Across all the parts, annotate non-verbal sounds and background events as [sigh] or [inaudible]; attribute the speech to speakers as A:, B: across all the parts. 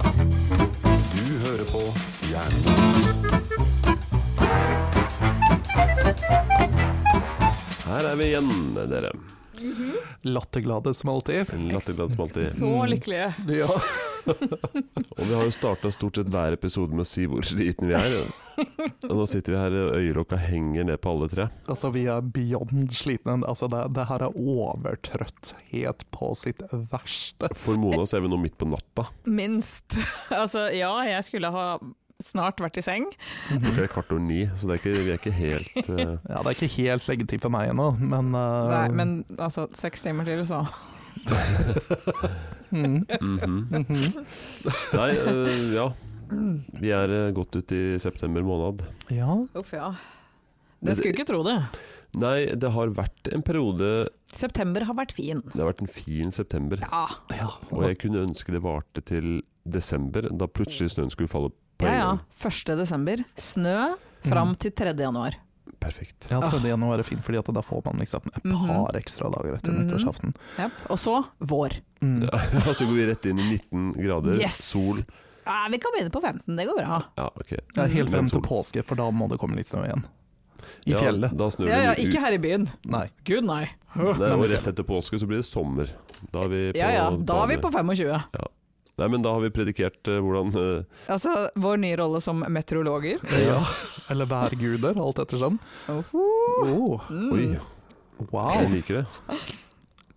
A: Du hører på Jernbos. Her er vi igjen, dere.
B: Latterglade som alltid.
A: Latterglad som alltid.
C: Så lykkelige.
B: Ja.
A: Og vi har jo starta stort sett hver episode med å si hvor slitne vi er. Og nå sitter vi her, og øyelokka henger ned på alle tre.
B: Altså, vi er beyond slitne. Altså, det, det her er overtrøtthet på sitt verste.
A: For Mona så er vi nå midt på natta.
C: Minst. [laughs] Altså, ja, jeg skulle ha snart vært i seng.
A: Klokka er kvart over ni, så det er ikke, vi er ikke helt eh,
B: Ja, det er ikke helt leggetid for meg ennå, men
A: Ah.
B: eh,
C: Nei, men altså, seks timer til, så.
B: mm,
A: mhm.
C: [laughs]
B: mhm.
A: Nei, eh, ja. Vi er eh, godt ut i september måned.
B: Ja.
C: Uff, ja. Det skulle ikke tro det.
A: Nei, det har vært en periode
C: September har vært fin.
A: Det har vært en fin september.
C: Ja.
B: ja.
A: Og jeg kunne ønske det varte til desember, da plutselig snøen skulle falle på
C: Ja,
A: en
C: ja.
A: gang.
C: 1. desember. Snø
A: Mm.
C: fram til 3. januar.
A: Perfekt.
B: mm.
A: [laughs]
B: Ja, 3. januar er fint, fordi at da får man liksom et
C: Mhm.
B: par ekstra dager etter
C: Mhm.
B: nyttårsaften.
C: Japp. Og så vår.
B: Mm.
A: Ja, så går vi rett inn i 19 grader,
C: Yes!
A: sol.
C: Ja, vi kan begynne på 15, det går bra.
A: Ja, ok.
B: Ja, helt
A: Men
B: frem til
A: sol.
B: påske, for da må det komme litt snø igjen. I
A: Ja,
B: fjellet.
A: Da snør det
C: Ja, ja,
A: ut.
C: ikke her i byen.
B: Nei.
C: Gud, nei.
A: Nei,
B: Men
A: og
B: i
A: rett
B: fjellet.
A: etter påske så blir det sommer. Da er vi på
C: Ja ja, da er vi på 25.
A: Nei, men da har vi predikert eh, hvordan eh,
C: Altså, vår nye rolle som meteorologer.
B: Ja. Eller værguder, alt ettersom.
C: Uff.
B: Oh,
C: Mm.
A: Oi, jeg
B: wow.
A: liker det.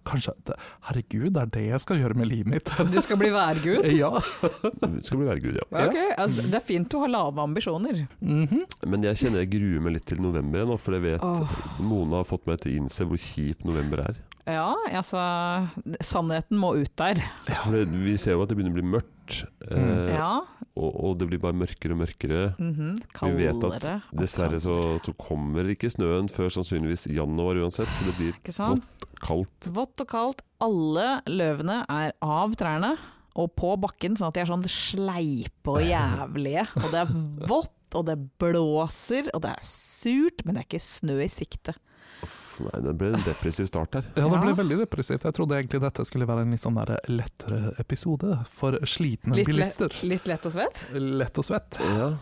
B: Kanskje det- Herregud, det er det jeg skal gjøre med livet mitt. [laughs]
C: Du skal bli værgud?
B: Ja.
A: Det skal bli værgud, ja.
C: Ok, altså, Det er fint du har lave ambisjoner.
B: Mhm.
A: Men jeg kjenner jeg gruer meg litt til november nå, for jeg vet
C: Åh,
A: Mona har fått meg til å innse hvor kjip november er.
C: ja, altså Sannheten må ut der.
A: For det, vi ser jo at det begynner å bli mørkt,
B: Mm.
A: eh,
C: Ja.
A: og, og det blir bare mørkere og mørkere.
C: mhm,
A: Vi vet at-
C: Kaldere. og
A: Dessverre så,
C: kaldere,
A: så kommer ikke snøen før sannsynligvis januar uansett, så det blir
C: Ikke sant?
A: kaldt.
C: Vått og kaldt. Alle løvene er av trærne og på bakken, sånn at de er sånn sleipe og jævlige. Og det er vått, og det blåser, og det er surt, men det er ikke snø i sikte.
A: Uff, Nei, det ble en depressiv start her.
B: Ja, det ble
C: Ja.
B: veldig depressivt. Jeg trodde egentlig dette skulle være en litt sånn der lettere episode for slitne
C: Litt,
B: bilister.
C: le litt lett og svett?
B: Lett og svett.
A: Ja.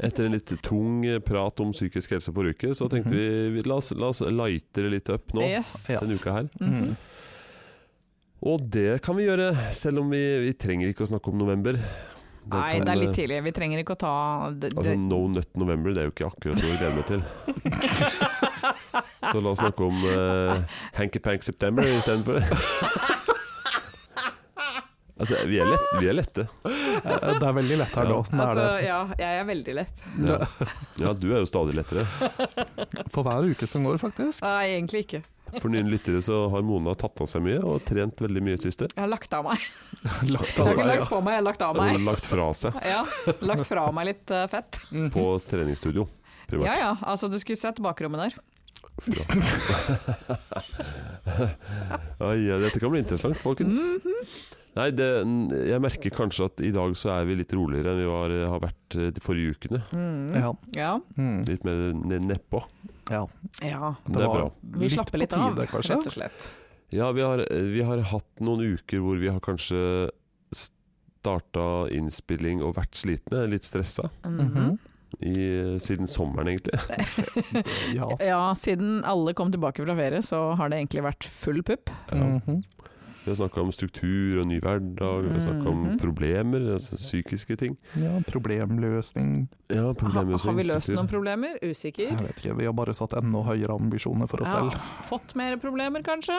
A: Etter en litt tung eh, prat om psykisk helse forrige uke, så tenkte vi, vi la, oss, la oss lighte det litt opp nå
C: Mhm. Yes.
B: Ja.
A: denne uka her.
B: Mm.
C: Mhm.
A: Og det kan vi gjøre, selv om vi, vi trenger ikke å snakke om november. Det
C: Nei,
A: kan,
C: det er litt
A: eh,
C: tidlig. Vi trenger ikke å ta det,
A: Altså
C: [laughs]
A: No Nut November, det er jo ikke akkurat noe å glede meg til. Så la oss snakke om eh, Hanky Pank September
C: [laughs]
A: istedenfor. altså, vi er, lett, vi er lette.
B: Eh, Det er veldig lett her
A: Ja.
B: nå. Nå er
C: Altså,
B: det-
C: ja, jeg er veldig lett.
A: Ja. ja, du er jo stadig lettere.
B: For hver uke som går, faktisk.
C: Nei, egentlig ikke.
A: For nye lyttere så har Mona tatt av seg mye, og trent veldig mye i siste.
C: Jeg har lagt av meg.
B: [laughs] Lagt
C: Jeg
B: av
C: har ikke
B: seg, ja.
C: lagt på meg, jeg har lagt av
A: Hun [laughs] har
C: meg.
A: lagt fra seg
C: Ja, lagt fra meg litt eh, fett.
A: på treningsstudio.
C: Ja
A: Privat.
C: ja, altså du skulle sett bakrommet der.
A: Fy da. Ai, ja, dette kan bli interessant, folkens.
C: Mhm.
A: Nei, det, jeg merker kanskje at i dag så er vi litt roligere enn vi var, har vært eh, de forrige ukene.
C: Mm.
B: Ja.
C: Ja.
B: Mm.
A: Litt mer ne- nedpå.
B: ja.
C: ja.
A: Det er bra.
C: Vi slapper litt av,
B: tide, kanskje.
C: rett og slett.
A: Ja, vi har, vi har hatt noen uker hvor vi har kanskje starta innspilling og vært slitne, litt stressa,
C: Mhm.
A: i, siden sommeren egentlig.
C: [laughs]
B: Ja.
C: Ja, siden alle kom tilbake fra ferie, så har det egentlig vært full pupp.
A: Ja.
B: Mhm.
A: Vi har snakka om struktur og ny hverdag, vi har snakka om
C: Mhm.
A: problemer, altså psykiske ting.
B: ja, problemløsning.
A: Ja,
C: Ha,
A: problemer
C: har
A: som
C: vi løst
A: struktur.
C: noen problemer? Usikker.
B: Jeg vet ikke, vi har bare satt enda høyere ambisjoner for oss selv,
C: Ja, fått mer problemer, kanskje?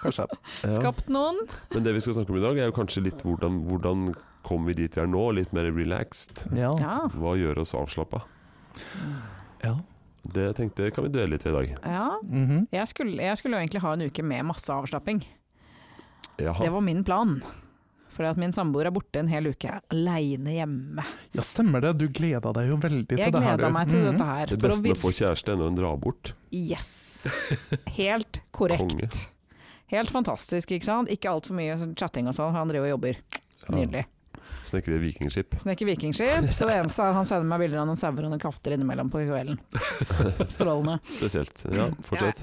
B: kanskje.
A: Ja.
C: Skapt noen?
A: Men det vi skal snakke om i dag, er jo kanskje litt hvordan, hvordan kom vi dit vi er nå, litt mer relaxed.
B: Ja.
C: Ja.
A: Hva gjør oss avslappa?
B: ja.
A: Det tenkte jeg kan vi dvele litt ved i dag.
C: ja.
B: Mhm.
C: Jeg skulle, jeg skulle jo egentlig ha en uke med masse avslapping. Det
A: Jaha.
C: var min plan. Fordi at min samboer er borte en hel uke aleine hjemme.
B: ja, stemmer det. Du gleda deg jo veldig til
C: Jeg
B: det her.
C: gleda
B: du.
C: meg til
B: Mhm.
C: dette her.
A: Det
C: for å
A: beste med å få
C: virke-
A: kjæreste er når en drar bort.
C: Yes. Helt korrekt.
A: Konge.
C: Helt fantastisk, ikke sant? Ikke altfor mye sånn chatting og sånn, for han driver og jobber.
A: Ja.
C: Nydelig.
A: Snekre vikingskip.
C: Snekker vikingskip. Så det eneste er han sender meg bilder av noen sauer og noen kafter innimellom på kvelden. Strålende.
A: Spesielt. Ja, fortsett.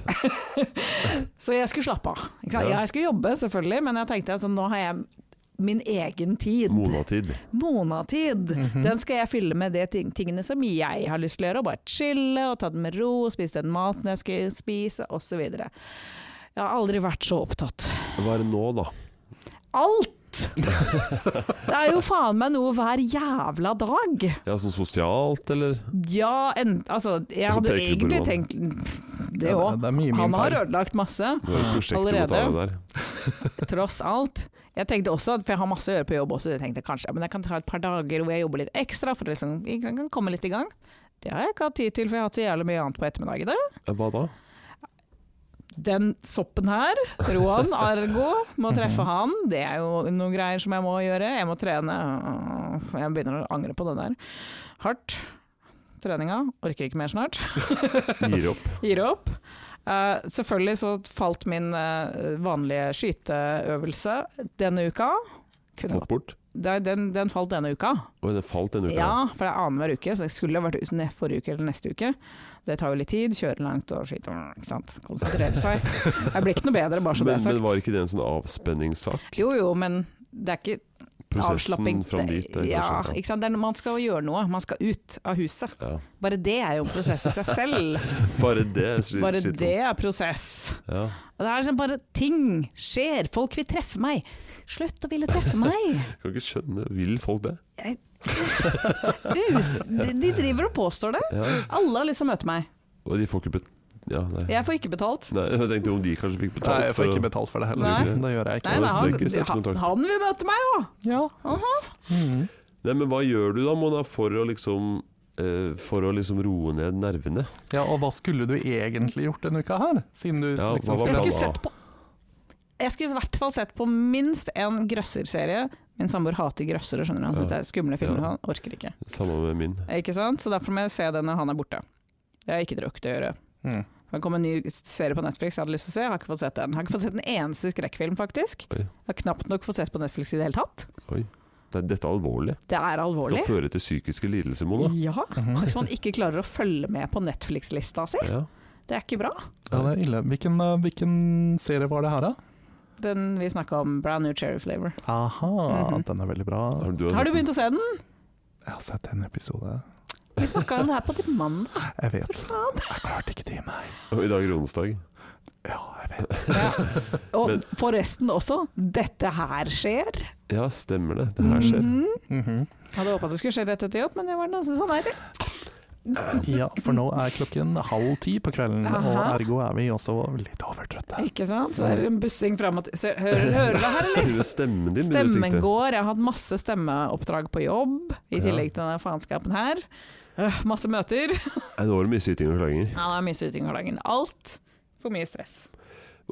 C: Så jeg skulle slappe av. Ikke sant?
A: Ja.
C: Ja, jeg skulle jobbe, selvfølgelig, men jeg tenkte at sånn, nå har jeg min egen tid.
A: Monatid.
C: Monatid.
B: Mhm.
C: Den skal jeg fylle med de ting, tingene som jeg har lyst til å gjøre, og bare chille og ta det med ro, spise den maten jeg skal spise, osv. Jeg har aldri vært så opptatt.
A: Hva er det nå, da?
C: Alt! Det er jo faen meg noe hver jævla dag.
A: Ja, Sånn sosialt, eller?
C: Ja, en, altså Jeg
A: Og så
C: hadde jo
A: peker du på
C: egentlig
A: Roald.
C: tenkt
B: Mm.
C: det
B: Ja,
C: òg.
B: det er mye min
C: Han har
B: feil.
C: ødelagt masse,
A: Du har et prosjekt
C: Allerede.
A: mot alle der.
C: tross alt. Jeg tenkte også, at- for jeg har masse å gjøre på jobb også, jeg tenkte kanskje ja, men jeg kan ta et par dager hvor jeg jobber litt ekstra for å liksom, jeg kan kan komme litt i gang. Det har jeg ikke hatt tid til, for jeg har hatt så jævlig mye annet på ettermiddagene.
A: Ja, Hva da?
C: Den soppen her, Roan Argo,
A: Mhm.
C: må treffe han. Det er jo noen greier som jeg må gjøre. Jeg må trene. Øh, Jeg begynner å angre på det der. Hardt. Treninga. Orker ikke mer snart.
A: Gir opp.
C: [laughs] Gir opp. Eh, selvfølgelig så falt min eh, vanlige skyteøvelse denne uka. Kunne
A: Fått
C: godt.
A: bort.
C: Nei, Den, den falt denne uka.
A: Oi, den falt denne uka.
C: Ja, for det er annenhver uke, så det skulle ha vært uten det forrige uke eller neste uke. Det tar jo litt tid, kjøre langt og skitt, ikke sant. Konsentrere seg. Jeg blir ikke noe bedre, bare så det
A: Men,
C: er
A: men
C: sagt.
A: var ikke det en sånn avspenningssak?
C: Jo jo, men det er ikke avslapping.
A: Prosessen fram dit? Det,
C: ja,
A: kanskje,
C: ikke sant? Det er, man skal jo gjøre noe, man skal ut av huset.
A: ja.
C: Bare det er jo en
A: [laughs]
C: prosess i seg selv.
A: Bare det er sli-
C: Bare
A: slitsomt.
C: det er prosess.
A: Ja.
C: Og Det er liksom bare ting skjer, folk vil treffe meg. Slutt å ville treffe meg!
A: Jeg kan ikke skjønne Vil folk det?
C: Us, de, de driver og påstår det.
A: Ja.
C: Alle har lyst til å møte meg.
A: Og de får ikke bet... Ja, nei.
C: Jeg får ikke betalt.
A: nei. Jeg tenkte om de kanskje fikk betalt.
B: Nei, jeg får
A: for å-
B: ikke betalt for det heller.
C: Nei.
B: Det gjør jeg
C: Nei,
B: ikke.
A: det
C: nei,
A: er
C: han,
A: ikke støtte
C: han,
A: kontakt.
C: han vil møte meg òg!
B: Ja. Mhm.
A: Nei, men hva gjør du da, Mona, for å liksom eh, for å liksom roe ned nervene.
B: ja, og hva skulle du egentlig gjort denne uka her? Siden du
A: Ja, hva
B: liksom
A: var
C: Jeg
A: bra
B: skulle
C: skulle
A: da?
C: sett på Jeg skulle i hvert fall sett på minst en grøsserserie. Min samboer hater grøssere, skjønner du. Han synes det er skumle filmer,
A: Ja.
C: han orker ikke.
A: Samme med min.
C: Ikke sant? Så derfor må jeg se den når han er borte. Det har jeg ikke drukket å gjøre.
B: Mhm.
C: Det kom en ny serie på Netflix jeg hadde lyst til å se, jeg har ikke fått sett den. Jeg har ikke fått sett en eneste skrekkfilm, faktisk.
A: Oi.
C: Jeg har knapt nok fått sett på Netflix i det hele tatt.
A: Nei, dette er alvorlig.
C: Det er
A: Det
C: alvorlig.
A: kan føre til psykiske lidelser, Mona.
C: Ja,
B: Mhm.
C: hvis man ikke klarer å følge med på Netflix-lista si.
A: Ja.
C: Det er ikke bra.
B: Ja, det er ille. Hvilken, eh, hvilken serie var det her, da?
C: Den vi snakka om, Brown New Cherry Flavor.
B: Aha,
C: Mhm.
B: den er veldig bra.
A: Har du,
C: Har du begynt å se den?
B: Jeg har sett en episode.
C: Vi snakka om det her på til mandag.
B: Jeg vet. Jeg klarte ikke det i meg.
A: I dag er onsdag.
B: Ja, jeg vet.
C: Og
A: Men-
C: forresten også, dette her skjer.
A: Ja, stemmer det. Det her skjer.
C: Mhm.
B: Mhm.
C: Hadde håpa det skulle skje rett etter jobb, men det var det noen som sa nei til.
B: Ja, for nå er klokken halv ti på kvelden,
C: Aha.
B: og ergo er vi også litt overtrøtte.
C: Ikke sant? Så er det en bussing fram og til Se, Hører hører du det her, eller?
A: Til og med Stemmen din begynner å
C: Stemmen
A: sikte.
C: går. Jeg har hatt masse stemmeoppdrag på jobb, i
A: Ja.
C: tillegg til denne faenskapen her. Øh, masse møter.
A: Nei, Nå er det mye syting og klaginger.
C: Ja, det er mye syting om dagen. Alt for mye stress.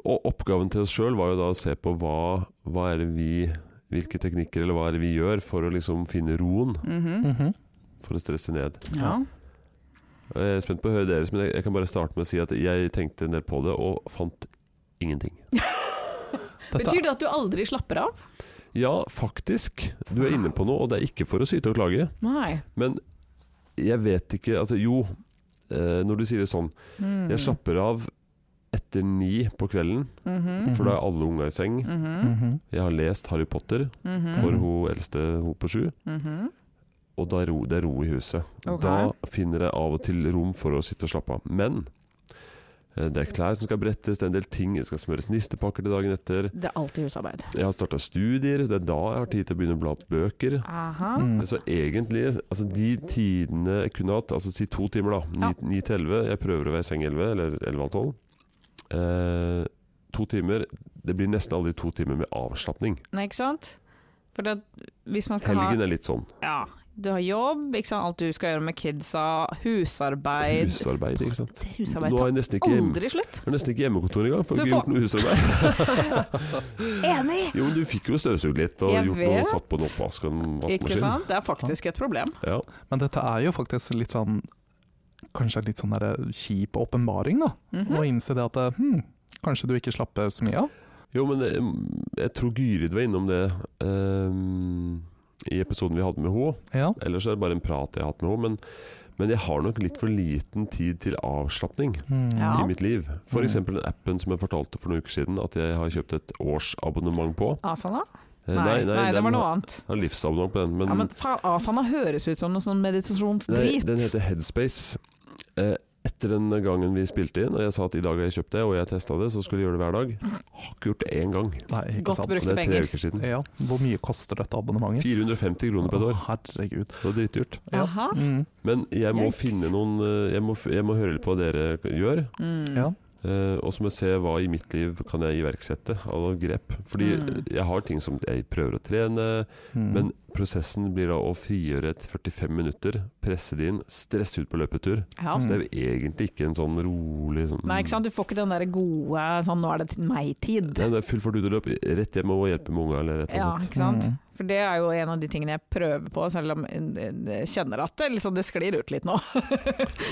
A: Og oppgaven til oss sjøl var jo da å se på hva, hva er det vi Hvilke teknikker eller hva er det vi gjør for å liksom finne roen,
C: Mhm.
A: Mm.
B: Mhm.
A: for å stresse ned.
C: Ja.
A: Og Jeg er spent på å høre deres, men jeg, jeg kan bare starte med å si at jeg tenkte en del på det, og fant ingenting.
B: Dette-
C: Betyr det at du aldri slapper av?
A: Ja, faktisk. Du er inne på noe, og det er ikke for å syte og klage.
C: Nei.
A: Men jeg vet ikke Altså, jo. eh, Når du sier det sånn
C: Mm.
A: Jeg slapper av etter ni på kvelden,
C: Mhm.
A: for da er alle unga i seng.
C: Mhm.
B: Mhm.
A: Jeg har lest Harry Potter
C: Mhm.
A: for
B: Mm.
A: hun eldste, hun på sju.
C: Mhm.
A: og da er ro, det er ro i huset.
C: Ok.
A: Da finner jeg av og til rom for å sitte og slappe av. Men eh, det er klær som skal brettes, det er en del ting, det skal smøres nistepakker til dagen etter.
C: Det er alltid husarbeid.
A: Jeg har starta studier, det er da jeg har tid til å begynne å bla opp bøker.
C: Aha.
B: Mhm.
A: Så egentlig, altså de tidene jeg kunne hatt, altså si to timer da, ni,
C: Ja.
A: ni til elleve, jeg prøver å være i seng elleve, eller elleve halv tolv. Eh, to timer, det blir nesten aldri to timer med avslapning.
C: Nei, ikke sant? For det, hvis man skal
A: Helgen er litt sånn.
C: ha ja, Du har jobb, ikke sant? alt du skal gjøre med kidsa, husarbeid
A: Husarbeid, ikke sant.
C: Det
A: Nå
C: Husarbeid
A: er
C: tar
A: jeg nesten ikke hjemme.
C: aldri slutt!
A: Jeg har nesten ikke hjemmekontor engang, for
C: Så
A: jeg har ikke
C: få-
A: gjort noe husarbeid.
C: Enig!
A: Jo, men du fikk jo støvsugd litt, og
C: Jeg
A: gjort noe,
C: vet.
A: satt på en oppvask og en
C: Ikke
A: vaskemaskin.
C: sant? Det er faktisk et problem.
A: Ja.
B: Men dette er jo faktisk litt sånn Kanskje en litt sånn der kjip åpenbaring, da.
C: Mhm.
B: Å innse det at hm, kanskje du ikke slapper så mye av.
A: eh, Jo, men jeg, jeg tror Gyrid var innom det. ehm, i episoden vi hadde med henne.
B: Ja.
A: Ellers er det bare en prat jeg har hatt med henne. Men, men jeg har nok litt for liten tid til avslapning
B: Mm.
C: Ja.
A: i mitt liv.
B: Mm.
A: F.eks. den appen som jeg fortalte for noen uker siden at jeg har kjøpt et årsabonnement på.
C: Asana?
A: Eh,
C: Nei, nei, det
A: den
C: var noe
A: har-
C: annet.
A: har livsabonnement på den, men,
C: Ja, men faen, Asana høres ut som noe sånn
A: nei,
C: meditasjonsdrit.
A: den heter Headspace. Eh, etter den gangen vi spilte inn, og jeg sa at i dag har jeg kjøpt det, og jeg testa det, så skulle jeg gjøre det hver dag. Har ikke gjort det én gang.
B: Nei, ikke
C: Godt
B: sant.
C: brukt.
A: Og det er tre
C: penger.
A: uker siden.
B: Ja. Hvor mye koster dette abonnementet?
A: 450 kroner på et år.
B: Å, herregud.
A: Det var dritdyrt.
B: Ja.
C: Aha.
B: Mm.
A: Men jeg må
C: Yikes.
A: finne noen eh, jeg må, f- jeg må høre litt på hva dere gjør.
C: Mm.
B: Ja.
A: eh, og så må jeg se hva i mitt liv kan jeg iverksette av noen grep. Fordi
C: Mm.
A: jeg har ting som jeg prøver å trene,
B: Mm.
A: men prosessen blir da å frigjøre et 45 minutter, presse det inn, stresse ut på løpetur.
C: Ja.
A: Så det er jo egentlig ikke en sånn rolig sånn
C: Nei, ikke sant? Du får ikke den der gode sånn 'nå er det til meg-tid'.
A: Nei, det er full fart ut og løp, rett hjem og hjelpe med unga eller et eller
C: Ja,
A: annet.
C: ikke sant?
B: Mm.
C: For det er jo en av de tingene jeg prøver på, selv om eh, jeg kjenner at det, liksom, det sklir ut litt nå. [laughs]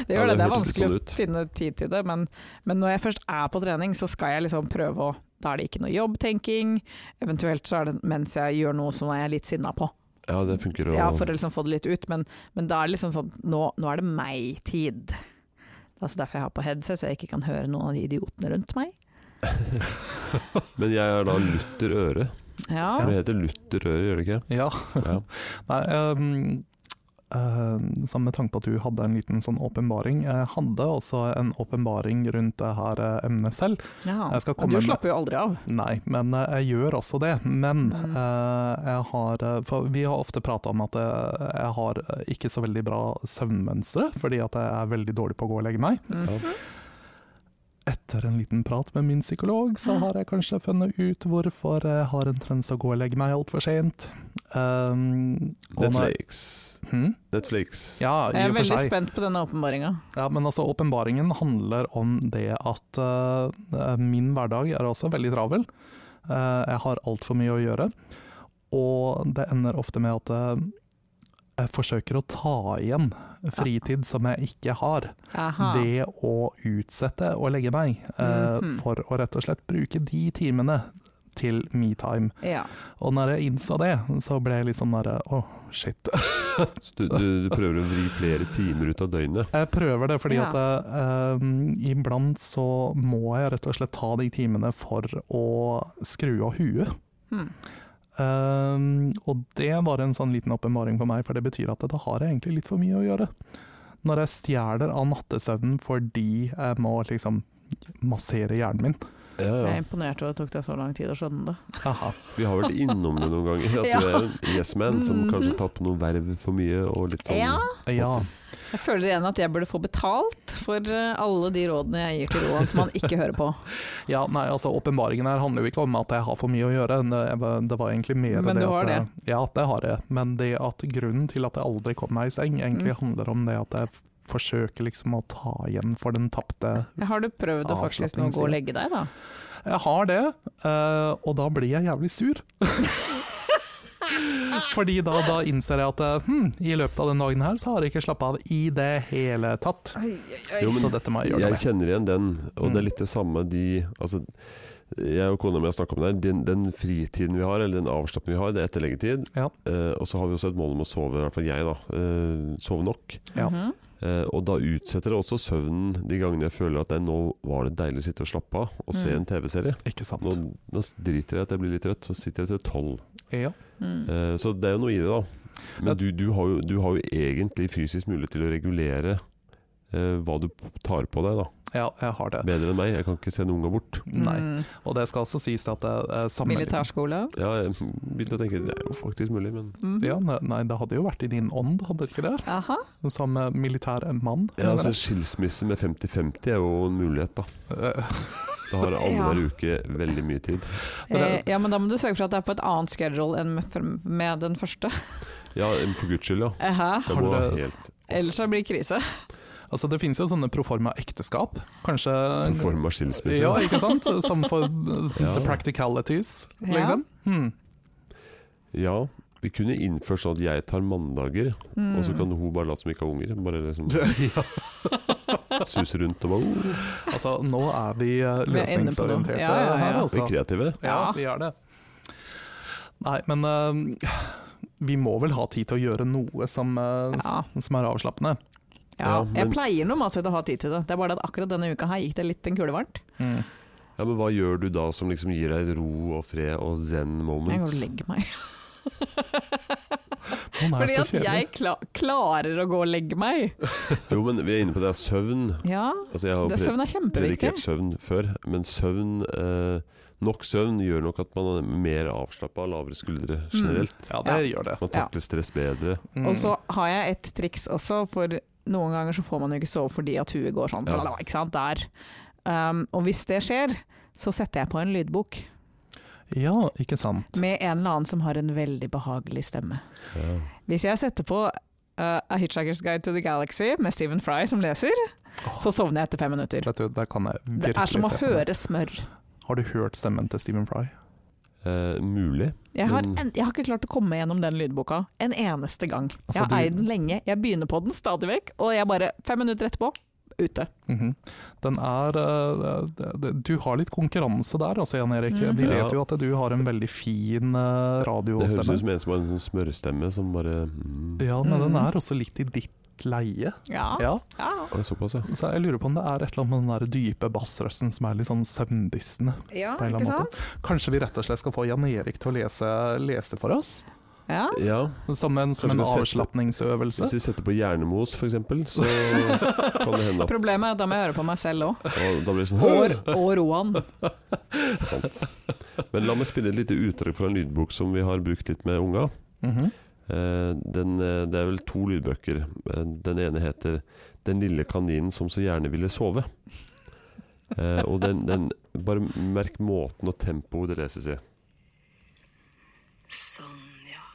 C: det
A: Ja,
C: gjør
A: det
C: det.
A: hørtes
C: Det er
A: litt
C: vanskelig
A: sånn
C: å
A: ut.
C: finne tid til det, men, men når jeg først er på trening, så skal jeg liksom prøve å Da er det ikke noe jobbtenking, eventuelt så er det mens jeg gjør noe som jeg er litt sinna på.
A: Ja, det funker å
C: Ja, for å liksom få det litt ut, men, men da er det liksom sånn Nå, nå er det meg-tid. Det er altså derfor jeg har på headset, så jeg ikke kan høre noen av de idiotene rundt meg.
A: Men jeg er da Lutter Øre.
C: Ja,
A: For det heter Lutter Øre, gjør det ikke?
B: Ja.
A: Ja.
B: [laughs] Nei, ehm, eh, så med tanke på at du hadde en liten sånn åpenbaring. Jeg hadde også en åpenbaring rundt det her eh, emnet selv.
C: ja.
B: Jeg skal
C: Men
B: komme
C: Du
B: med-
C: slapper jo aldri av.
B: Nei, men eh, jeg gjør også det. Men
C: Mm.
B: eh, jeg har eh, For vi har ofte prata om at jeg, jeg har eh, ikke så veldig bra søvnmønstre, fordi at jeg er veldig dårlig på å gå og legge meg.
C: Mhm.
B: Etter en liten prat med min psykolog, så har jeg kanskje funnet ut hvorfor jeg har en tendens å gå og legge meg altfor sent. Um, og når-
A: Netflix.
B: Hm?
A: Netflix.
B: Ja, i
C: Jeg er
B: og for
C: veldig
B: seg.
C: spent på denne åpenbaringa.
B: Ja, men altså, åpenbaringen handler om det at eh, min hverdag er også veldig travel. Eh, jeg har altfor mye å gjøre. Og det ender ofte med at eh, jeg forsøker å ta igjen fritid som jeg ikke har.
C: Aha.
B: Det å utsette å legge meg, eh,
C: Mhm.
B: for å rett og slett bruke de timene til metime.
C: Ja.
B: Og når jeg innså det, så ble jeg litt sånn derre Å, shit.
A: Så Du, du, du prøver å vri flere timer ut av døgnet.
B: Jeg prøver det, fordi
C: Ja.
B: at eh, iblant så må jeg rett og slett ta de timene for å skru av huet.
C: Hmm.
B: Eh, og det var en sånn liten åpenbaring for meg, for det betyr at da har jeg egentlig litt for mye å gjøre. Når jeg stjeler av nattesøvnen fordi jeg må liksom massere hjernen min.
A: Ja,
C: Jeg er
A: ja.
C: imponert over at det tok deg så lang tid å skjønne det.
B: Aha.
A: Vi har vært innom det noen ganger. At
C: [laughs] Ja.
A: du er en yes man som
C: Mhm.
A: kanskje har tatt på noen verv for mye. Og litt sånn
B: Ja.
C: Jeg føler igjen at jeg burde få betalt for eh, alle de rådene jeg gir til Roan som han ikke hører på.
B: ja, nei, altså åpenbaringen her handler jo ikke om at jeg har for mye å gjøre. Det, jeg- det var egentlig mer
C: Men
B: det
C: du har
B: at jeg, Ja, det har jeg. Men det at grunnen til at jeg aldri kom meg i seng, egentlig
C: Mm.
B: handler om det at jeg f- forsøker liksom å ta igjen for den tapte
C: Har du prøvd å
B: Ah,
C: faktisk nå gå og legge deg, da?
B: Jeg har det, eh, og da blir jeg jævlig sur. [laughs] Fordi da, da innser jeg at eh, hm, i løpet av den dagen her så har jeg ikke slappa av i det hele tatt.
A: Jo, men
B: så dette må jeg gjøre
A: Jeg
B: noe med.
A: kjenner igjen den, og
B: Mm.
A: det er litt det samme de altså, Jeg og kona mi har snakka om det her. Den, den fritiden vi har, eller den avslappingen vi har, det er etter leggetid.
B: Ja.
A: Eh, og så har vi også et mål om å sove, i hvert fall jeg, da. eh, sove nok.
B: Ja.
C: Mhm.
A: Eh, og da utsetter det også søvnen de gangene jeg føler at nei, nå var det deilig å sitte og slappe av og se
C: Mm.
A: en TV-serie.
B: Ikke sant.
A: Nå, nå driter jeg i at jeg blir litt trøtt, så sitter jeg til tolv.
B: Ja.
C: Mm.
A: Eh, så det er jo noe i det, da. Men du, du, har jo, du har jo egentlig fysisk mulighet til å regulere eh, hva du tar på deg, da.
B: ja, jeg har det.
A: Bedre enn meg. Jeg kan ikke sende unga bort.
B: Nei.
C: Mm.
B: Og det skal også sies at eh, jeg, jeg sammenligner
C: Militærskole.
A: Ja, jeg begynte å tenke det er jo faktisk mulig, men
C: Mhm.
B: Ja, ne- nei, det hadde jo vært i din ånd, hadde det ikke det?
C: Aha.
B: Som eh, militær mann.
A: ja, altså,
B: mener
A: Skilsmisse med 50-50 er jo en mulighet, da.
B: jeg. Eh,
A: Da
C: [laughs]
A: har alle hver uke veldig mye tid.
C: Eh, ja, men da må du sørge for at det er på et annet schedule enn med, med den første.
A: Ja, for guds skyld, ja.
C: Eh, Hæ?
A: Det
B: Har
A: må
B: dere-
A: helt
C: Ellers så blir det krise.
B: Altså, det finnes jo sånne proforma ekteskap, kanskje
A: en form av skilsmisse.
B: Ja, ikke sant? Som for
A: [laughs] Ja.
B: the practicalities,
C: Ja.
B: liksom. Hmm.
A: Ja, vi kunne innført sånn at jeg tar mandager,
C: Mm.
A: og så kan hun bare late som ikke har unger. Bare
C: [laughs]
A: liksom
B: Ja.
A: suse rundt og bare oh,
B: Altså, nå er vi eh,
C: Vi er inne på det.
B: løsningsorienterte
C: Ja, ja, ja.
B: her,
A: Vi er
B: altså.
A: kreative.
B: Ja, vi er det. Nei, men eh, vi må vel ha tid til å gjøre noe som, eh, s-
C: Ja.
B: som er avslappende.
A: Ja,
C: Ja,
A: men-
C: Jeg pleier normalt sett å ha tid til det. Det er bare det at akkurat denne uka her gikk det litt en kule varmt.
B: Mm.
A: Ja, men hva gjør du da som liksom gir deg ro og fred og zen
C: Jeg går og
A: moments?
C: legger meg.
B: Man er
C: Fordi
B: jo
C: at
B: så kjedelig.
C: jeg kla klarer å gå og legge meg.
A: Jo, men vi er inne på det er søvn.
C: Ja,
A: Altså, jeg har
C: det
A: pre-
C: søvn er kjempeviktig.
A: predikert søvn før, men søvn eh, Nok søvn gjør nok at man er mer avslappa, lavere skuldre generelt.
B: Ja, det gjør det.
A: Man takler stress bedre.
B: Mm.
C: Og så har jeg et triks også, for noen ganger så får man jo ikke sove fordi at huet går sånn,
A: Ja.
C: ikke sant, der. Um, og hvis det skjer, så setter jeg på en lydbok
B: Hmm. Ja, ikke sant.
C: med en eller annen som har en veldig behagelig stemme.
A: Ja.
C: Hvis jeg setter på uh, A Hitchhiker's Guide to the Galaxy med Stephen Fry som leser, så sovner jeg etter fem minutter.
B: Vet du, det kan jeg virkelig
C: Det er som å
B: se for meg.
C: høre smør.
B: Har du hørt stemmen til Stephen Fry?
A: Eh, mulig.
C: Jeg har,
B: Mm.
A: Men-
C: en, jeg har ikke klart å komme gjennom den lydboka en eneste gang.
B: Altså,
C: jeg har
B: du-
C: eid den lenge, jeg begynner på den stadig vekk, og jeg bare fem minutter etterpå ute.
B: Mhm. Den er eh, det- det- Du har litt konkurranse der, altså, Jan Erik.
C: Mhm.
B: Vi
A: Ja.
B: vet jo at du har en veldig fin eh,
A: Det høres
B: radiostemme.
A: ut som en som har en sånn smørstemme som bare mm.
B: Ja, men den
C: Mhm.
B: er også litt i ditt leie.
C: Ja.
B: Ja.
C: ja.
A: Ah, Såpass, ja.
B: Så jeg lurer på om det er et eller annet med den der dype bassrøsten som er litt sånn søvndissende.
C: ja
B: På en eller annen
C: ikke
B: måte.
C: sant?
B: Kanskje vi rett og slett skal få Jan Erik til å lese, lese for oss?
C: Ja.
A: ja.
B: Som en, som
A: Kanskje
B: en
A: vi setter-
B: avslapningsøvelse?
A: Hvis vi setter på hjernemos, for eksempel, så kan det hende at
C: Problemet er at da må jeg høre på meg selv
B: [laughs]
C: òg.
A: og da blir det sånn
C: Og, og Roan.
A: Sant. Men la meg spille et lite utdrag fra en lydbok som vi har brukt litt med unga.
B: Mhm.
A: Eh, Den, eh, det er vel to lydbøker. Eh, Den ene heter 'Den lille kaninen som så gjerne ville sove'. Eh, Og den, den Bare merk måten og tempoet det leses i.
D: Sånn, ja.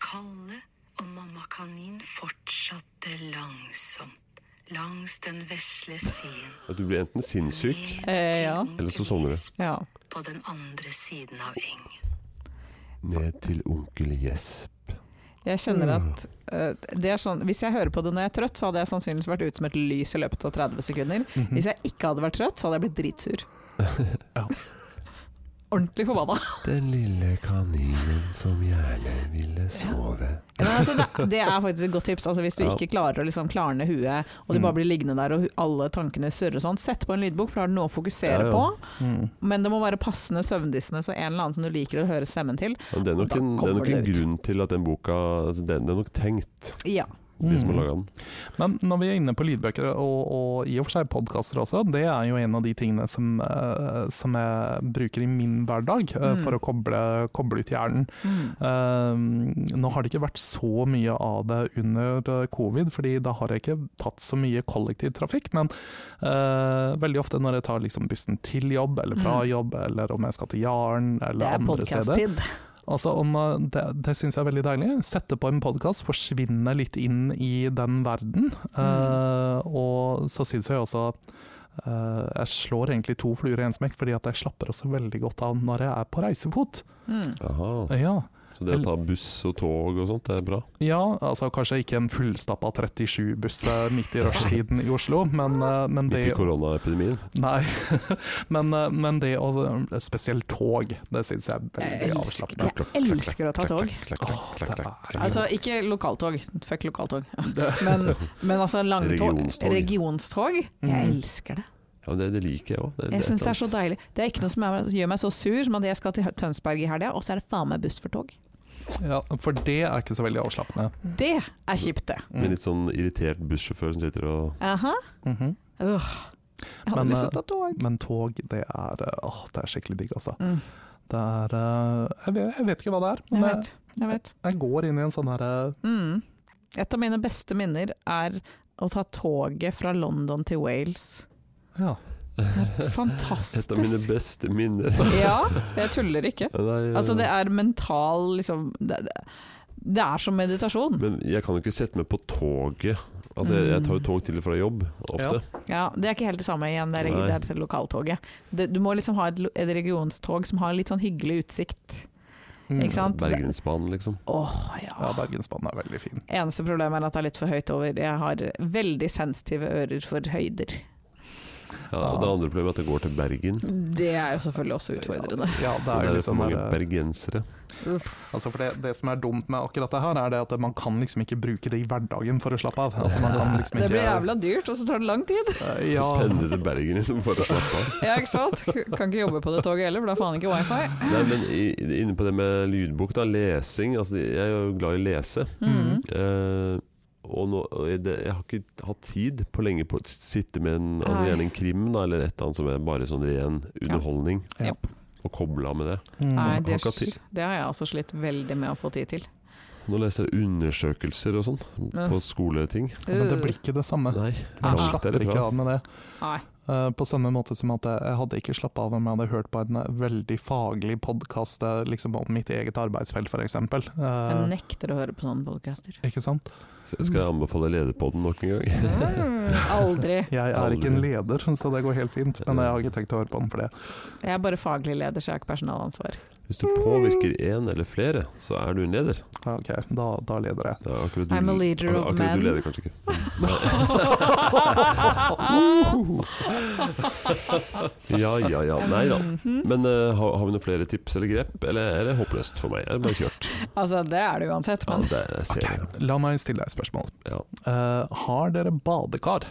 D: Kalle og mamma kanin fortsatte langsomt langs den vesle stien.
A: At du blir enten sinnssyk
D: ned
C: Eh,
D: til
C: ja.
D: onkel
A: Eller så sovner du.
D: Jesper
C: Ja.
D: På den andre siden av engen.
A: ned til onkel Gjesp.
C: Jeg kjenner
B: Mm.
C: at eh, det er sånn, Hvis jeg hører på det når jeg er trøtt, så hadde jeg sannsynligvis vært ute som et lys i løpet av 30 sekunder.
B: Mm. Mhm.
C: Hvis jeg ikke hadde vært trøtt, så hadde jeg blitt dritsur.
B: [laughs] Ja.
C: Ordentlig forbanna.
A: Den lille kaninen som gjerne ville sove.
C: Men altså, det, det er faktisk et godt tips. Altså, hvis du
A: Ja.
C: ikke klarer å liksom klarne huet, og du
B: Mm.
C: bare blir liggende der og hu- alle tankene surrer sånn, sett på en lydbok, for da har du noe å
A: Ja, ja.
C: fokusere på.
B: Mhm.
C: Men det må være passende søvndissende, så en eller annen som du liker å høre stemmen til.
A: Men det er nok
C: Da
A: en, det er
C: kommer
A: nok en
C: det ut.
A: grunn til at den boka altså den, Det er nok tenkt,
C: Ja.
A: de som har
B: Mm.
A: laga den.
B: Men når vi er inne på lydbøker, og, og i og for seg podkaster også, det er jo en av de tingene som, eh, som jeg bruker i min hverdag eh,
C: Mm.
B: for å koble, koble ut hjernen.
C: Mm.
B: Eh, nå har det ikke vært så mye av det under eh, covid, fordi da har jeg ikke tatt så mye kollektivtrafikk. Men eh, veldig ofte når jeg tar liksom bussen til jobb, eller fra
C: Mm.
B: jobb, eller om jeg skal til Jaren,
C: Det
B: eller
C: er
B: andre steder.
C: podkast-tid.
B: Altså, om, eh, det det syns jeg er veldig deilig. Sette på en podkast, forsvinne litt inn i den verden. Eh, og så syns jeg også eh, Jeg slår egentlig to fluer i én smekk, fordi at jeg slapper også veldig godt av når jeg er på reisefot.
C: Mm.
A: Aha.
B: Ja.
A: Så det å ta buss og tog og sånt, det er bra.
B: ja, altså kanskje ikke en fullstappa 37-buss eh, midt i rushtiden i Oslo, men, eh, men
A: Midt i
B: det
A: koronaepidemien.
B: Nei. [laughs] men, eh, men det å Spesielt tog, det syns jeg er
C: Jeg
B: veldig
C: elsker,
B: avslappende.
C: jeg elsker å ta tog. [laughs] Altså ikke lokaltog, fuck lokaltog. Men, men altså langtog,
A: Regionstog.
C: regionstog. Jeg
B: Mm.
C: elsker det.
A: Ja, men det, det liker jeg òg.
C: Jeg syns det er så deilig. Det er ikke noe som er, gjør meg så sur som at jeg skal til Tønsberg i helga, og så er det faen meg buss for tog.
B: Ja, for det er ikke så veldig avslappende. Mm.
C: Det er kjipt, det.
A: Med litt sånn irritert bussjåfør som sitter
C: [laughs]
A: og
C: Aha.
B: Mhm.
C: Øh. Jeg hadde
B: Men,
A: eh,
C: lyst til å ta tog.
B: Men tog, det er, åh, det er skikkelig digg, altså.
C: Mm.
B: Det er eh, jeg, vet, jeg vet ikke hva det er, men
C: Jeg
B: jeg,
C: vet. Jeg vet.
B: jeg går inn i en sånn her eh,
C: Mm. Et av mine beste minner er å ta toget fra London til Wales.
A: [laughs]
B: ja.
A: Et av mine
C: Fantastisk.
A: beste minner. [laughs]
C: Ja, jeg tuller ikke.
A: Nei,
C: Altså, det er mental liksom Det, det, det er som meditasjon.
A: Men jeg kan jo ikke sette meg på toget. Altså, jeg, jeg tar jo tog til og fra jobb ofte.
C: Ja, Det er ikke helt det samme igjen, det er,
A: Nei.
C: det er til lokaltoget. Det, du må liksom ha et, lo- et regionstog som har litt sånn hyggelig utsikt.
B: Mm.
C: Ikke sant? Det-
A: Bergensbanen, liksom.
C: Åh,
B: Ja,
C: ja.
B: Bergensbanen er veldig fin.
C: Eneste problemet er at det er litt for høyt over. Jeg har veldig sensitive ører for høyder.
A: Ja, og det andre problemet er at det går til Bergen.
C: Det er jo selvfølgelig også utfordrende.
B: Ja,
A: Og
B: det er
A: der er det for
B: jo
C: sånn
B: liksom
A: mange
C: eh,
B: der,
A: bergensere.
B: Altså for det, det som er dumt med akkurat dette her, er det at man kan liksom ikke bruke det i hverdagen for å slappe av. Altså man kan liksom
C: Det
B: ikke...
C: blir jævla dyrt, og så tar det lang tid.
B: Eh,
A: Så
B: Ja,
A: pendler til Bergen liksom for å slappe
C: [laughs]
A: av.
C: Ja, ikke sant? Kan ikke jobbe på det toget heller, for da har faen ikke wifi.
A: Nei, men i- inne på det med lydbok, da. Lesing. Altså, jeg er jo glad i å lese.
C: Mm.
A: Eh, og nå, og jeg- det, jeg har ikke hatt tid på lenge på å sitte med en, altså,
C: Nei.
A: gjerne en krim da, eller et eller annet som er bare sånn ren underholdning.
B: Ja.
A: Og koble av med det.
B: mm,
C: Nei, det,
A: Har ikke hatt tid.
C: det har jeg også slitt veldig med å få tid til.
A: Nå leser jeg undersøkelser og sånn
C: Ja.
A: på skoleting.
B: men det blir ikke det samme.
A: Nei,
C: Ah.
A: langt
B: Slapper ikke
A: derifra.
B: av med det.
C: Nei.
B: Eh, på samme måte som at jeg, jeg hadde ikke slappet av om jeg hadde hørt på en veldig faglig podkast liksom om mitt eget arbeidsfelt, f.eks.
C: Jeg
B: Uh,
C: nekter å høre på sånne [laughs] podcaster.
B: ikke sant?
A: Så jeg skal
C: Mm.
A: anbefale Lederpodden nok en gang.
C: Aldri.
B: Jeg er ikke en leder, [laughs] så det går helt fint. Men jeg har ikke tenkt å høre på den for det.
C: Jeg er bare faglig leder, så jeg har ikke
A: [laughs]
C: personalansvar.
A: [laughs] Hvis du påvirker én eller flere, så er du en leder.
B: Ja, Ok, da, da leder jeg.
A: Det er akkurat du,
C: I'm a leader
A: ak-
C: of
A: akkurat
C: men.
A: du leder kanskje ikke. Uh, Ja, ja, ja. Nei da.
C: Mm.
A: Men eh, har, har vi noen flere tips eller grep, eller er det håpløst for meg? Er det bare kjørt?
C: Altså, det er det uansett,
A: Ja,
C: men
A: det jeg ser jeg.
B: La meg stille deg et spørsmål.
A: Ja.
B: Eh, har dere badekar?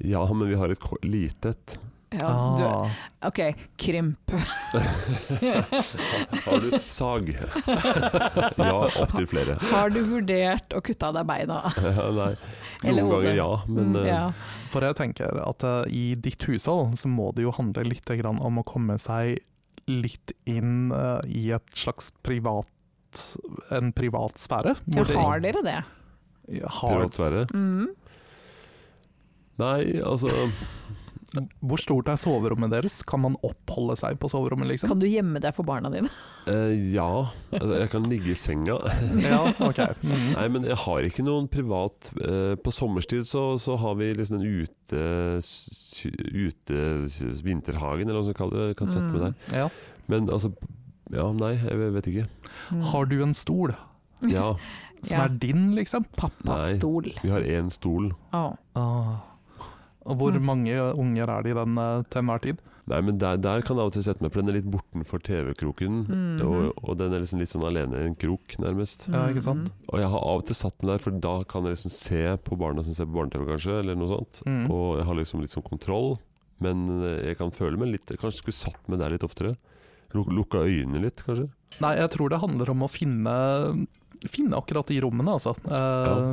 A: ja, men vi har et ko- lite et.
C: ja, du,
B: Ah.
C: OK, krymp.
A: Har du sag? Ja, opptil flere.
C: Har du vurdert å kutte av deg beina?
A: Nei.
C: Eller
A: Noen
C: hodet.
A: ganger ja, men
C: Mm,
A: eh,
C: ja.
B: For jeg tenker at eh, i ditt hushold så må det jo handle litt grann om å komme seg litt inn eh, i et slags privat en privat sfære.
C: Ja,
B: hvor det
C: har dere det?
B: ikke- har,
A: privat sfære.
C: Mm.
A: Nei, altså
B: hvor stort er soverommet deres? Kan man oppholde seg på soverommet, liksom?
C: Kan du gjemme deg for barna dine?
A: eh, Ja. Altså, jeg kan ligge i senga. [laughs]
B: Ja, ok. Mm.
A: Nei, men jeg har ikke noen privat eh, På sommerstid så, så har vi liksom en ute, s- ute s- vinterhagen, eller hva man kaller det. Jeg Kan sette
C: Mm.
A: meg der.
B: Ja.
A: Men altså Ja, nei, jeg vet ikke.
C: Mm.
B: Har du en stol
A: Ja,
B: som
C: Ja.
B: er din, liksom?
A: nei.
C: Pappastol.
A: Vi har én stol.
C: Å.
B: Ah. Og hvor
C: Mm.
B: mange unger er det i den eh, til enhver tid?
A: Nei, men der, der kan jeg av og til sette meg, for den er litt bortenfor TV-kroken.
C: Mhm.
A: og, og den er liksom litt sånn alene i en krok, nærmest.
B: Ja, ikke
C: Mm.
B: sant?
A: Og jeg har av og til satt den der, for da kan jeg liksom se på barna som ser på barne-TV, kanskje, eller noe sånt.
B: Mm.
A: Og jeg har liksom litt sånn kontroll, men eh, jeg kan føle meg litt Kanskje skulle satt meg der litt oftere. Luk lukka øynene litt, kanskje.
B: Nei, jeg tror det handler om å finne Finne akkurat de rommene, altså. Eh,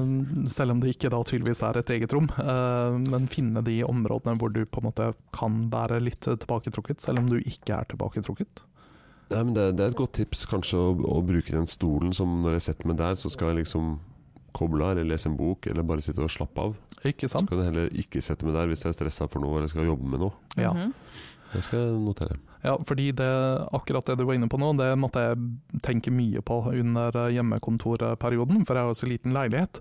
B: Selv om det ikke da tydeligvis er et eget rom. eh, men finne de områdene hvor du på en måte kan være litt tilbaketrukket, selv om du ikke er tilbaketrukket.
A: Nei, men det, det er et godt tips kanskje å, å bruke den stolen som når jeg setter meg der, så skal jeg liksom koble av eller lese en bok eller bare sitte og slappe av.
B: Ikke
A: Så
B: sant?
A: kan jeg heller ikke sette meg der hvis jeg er stressa for noe eller skal jobbe med noe.
B: Ja.
C: Mhm.
A: Det skal jeg notere.
B: Ja, fordi det, akkurat det du var inne på nå, det måtte jeg tenke mye på under eh, hjemmekontorperioden, for jeg har jo så liten leilighet.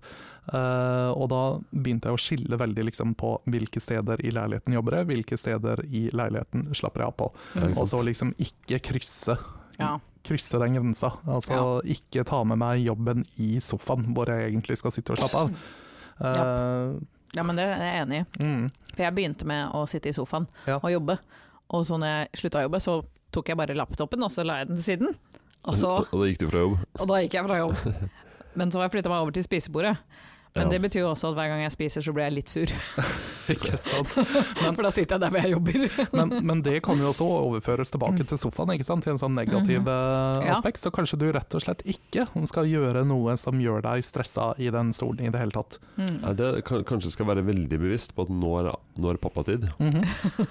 B: Eh, og da begynte jeg å skille veldig liksom, på hvilke steder i leiligheten jobber jeg, hvilke steder i leiligheten slapper jeg av på.
A: Ja, ikke
B: Og
A: sant?
B: så liksom ikke krysse,
C: Ja.
B: krysse den grensa. Altså
C: Ja.
B: ikke ta med meg jobben i sofaen hvor jeg egentlig skal sitte og slappe av.
C: ja, men det er jeg enig i.
B: Eh, mm,
C: For jeg begynte med å sitte i sofaen
B: Ja.
C: og jobbe. Og så når jeg slutta å jobbe, så tok jeg bare laptopen og så la jeg den til siden. Og, så,
A: og da gikk du fra jobb?
C: og da gikk jeg fra jobb. Men så har jeg flytta meg over til spisebordet.
A: Ja.
C: Men det betyr jo også at hver gang jeg spiser, så blir jeg litt sur.
B: ikke sant?
C: [laughs] For da sitter jeg der hvor jeg jobber.
B: Men, men det kan jo også overføres tilbake til sofaen, ikke sant? til en sånn negativ eh,
C: Mm. Mhm. Ja.
B: aspekt. Så kanskje du rett og slett ikke skal gjøre noe som gjør deg stressa i den stolen i det hele tatt.
C: Mm.
A: Ja, det kan, kanskje skal være veldig bevisst på at nå er, nå er det pappatid.
B: Mhm.
C: [laughs]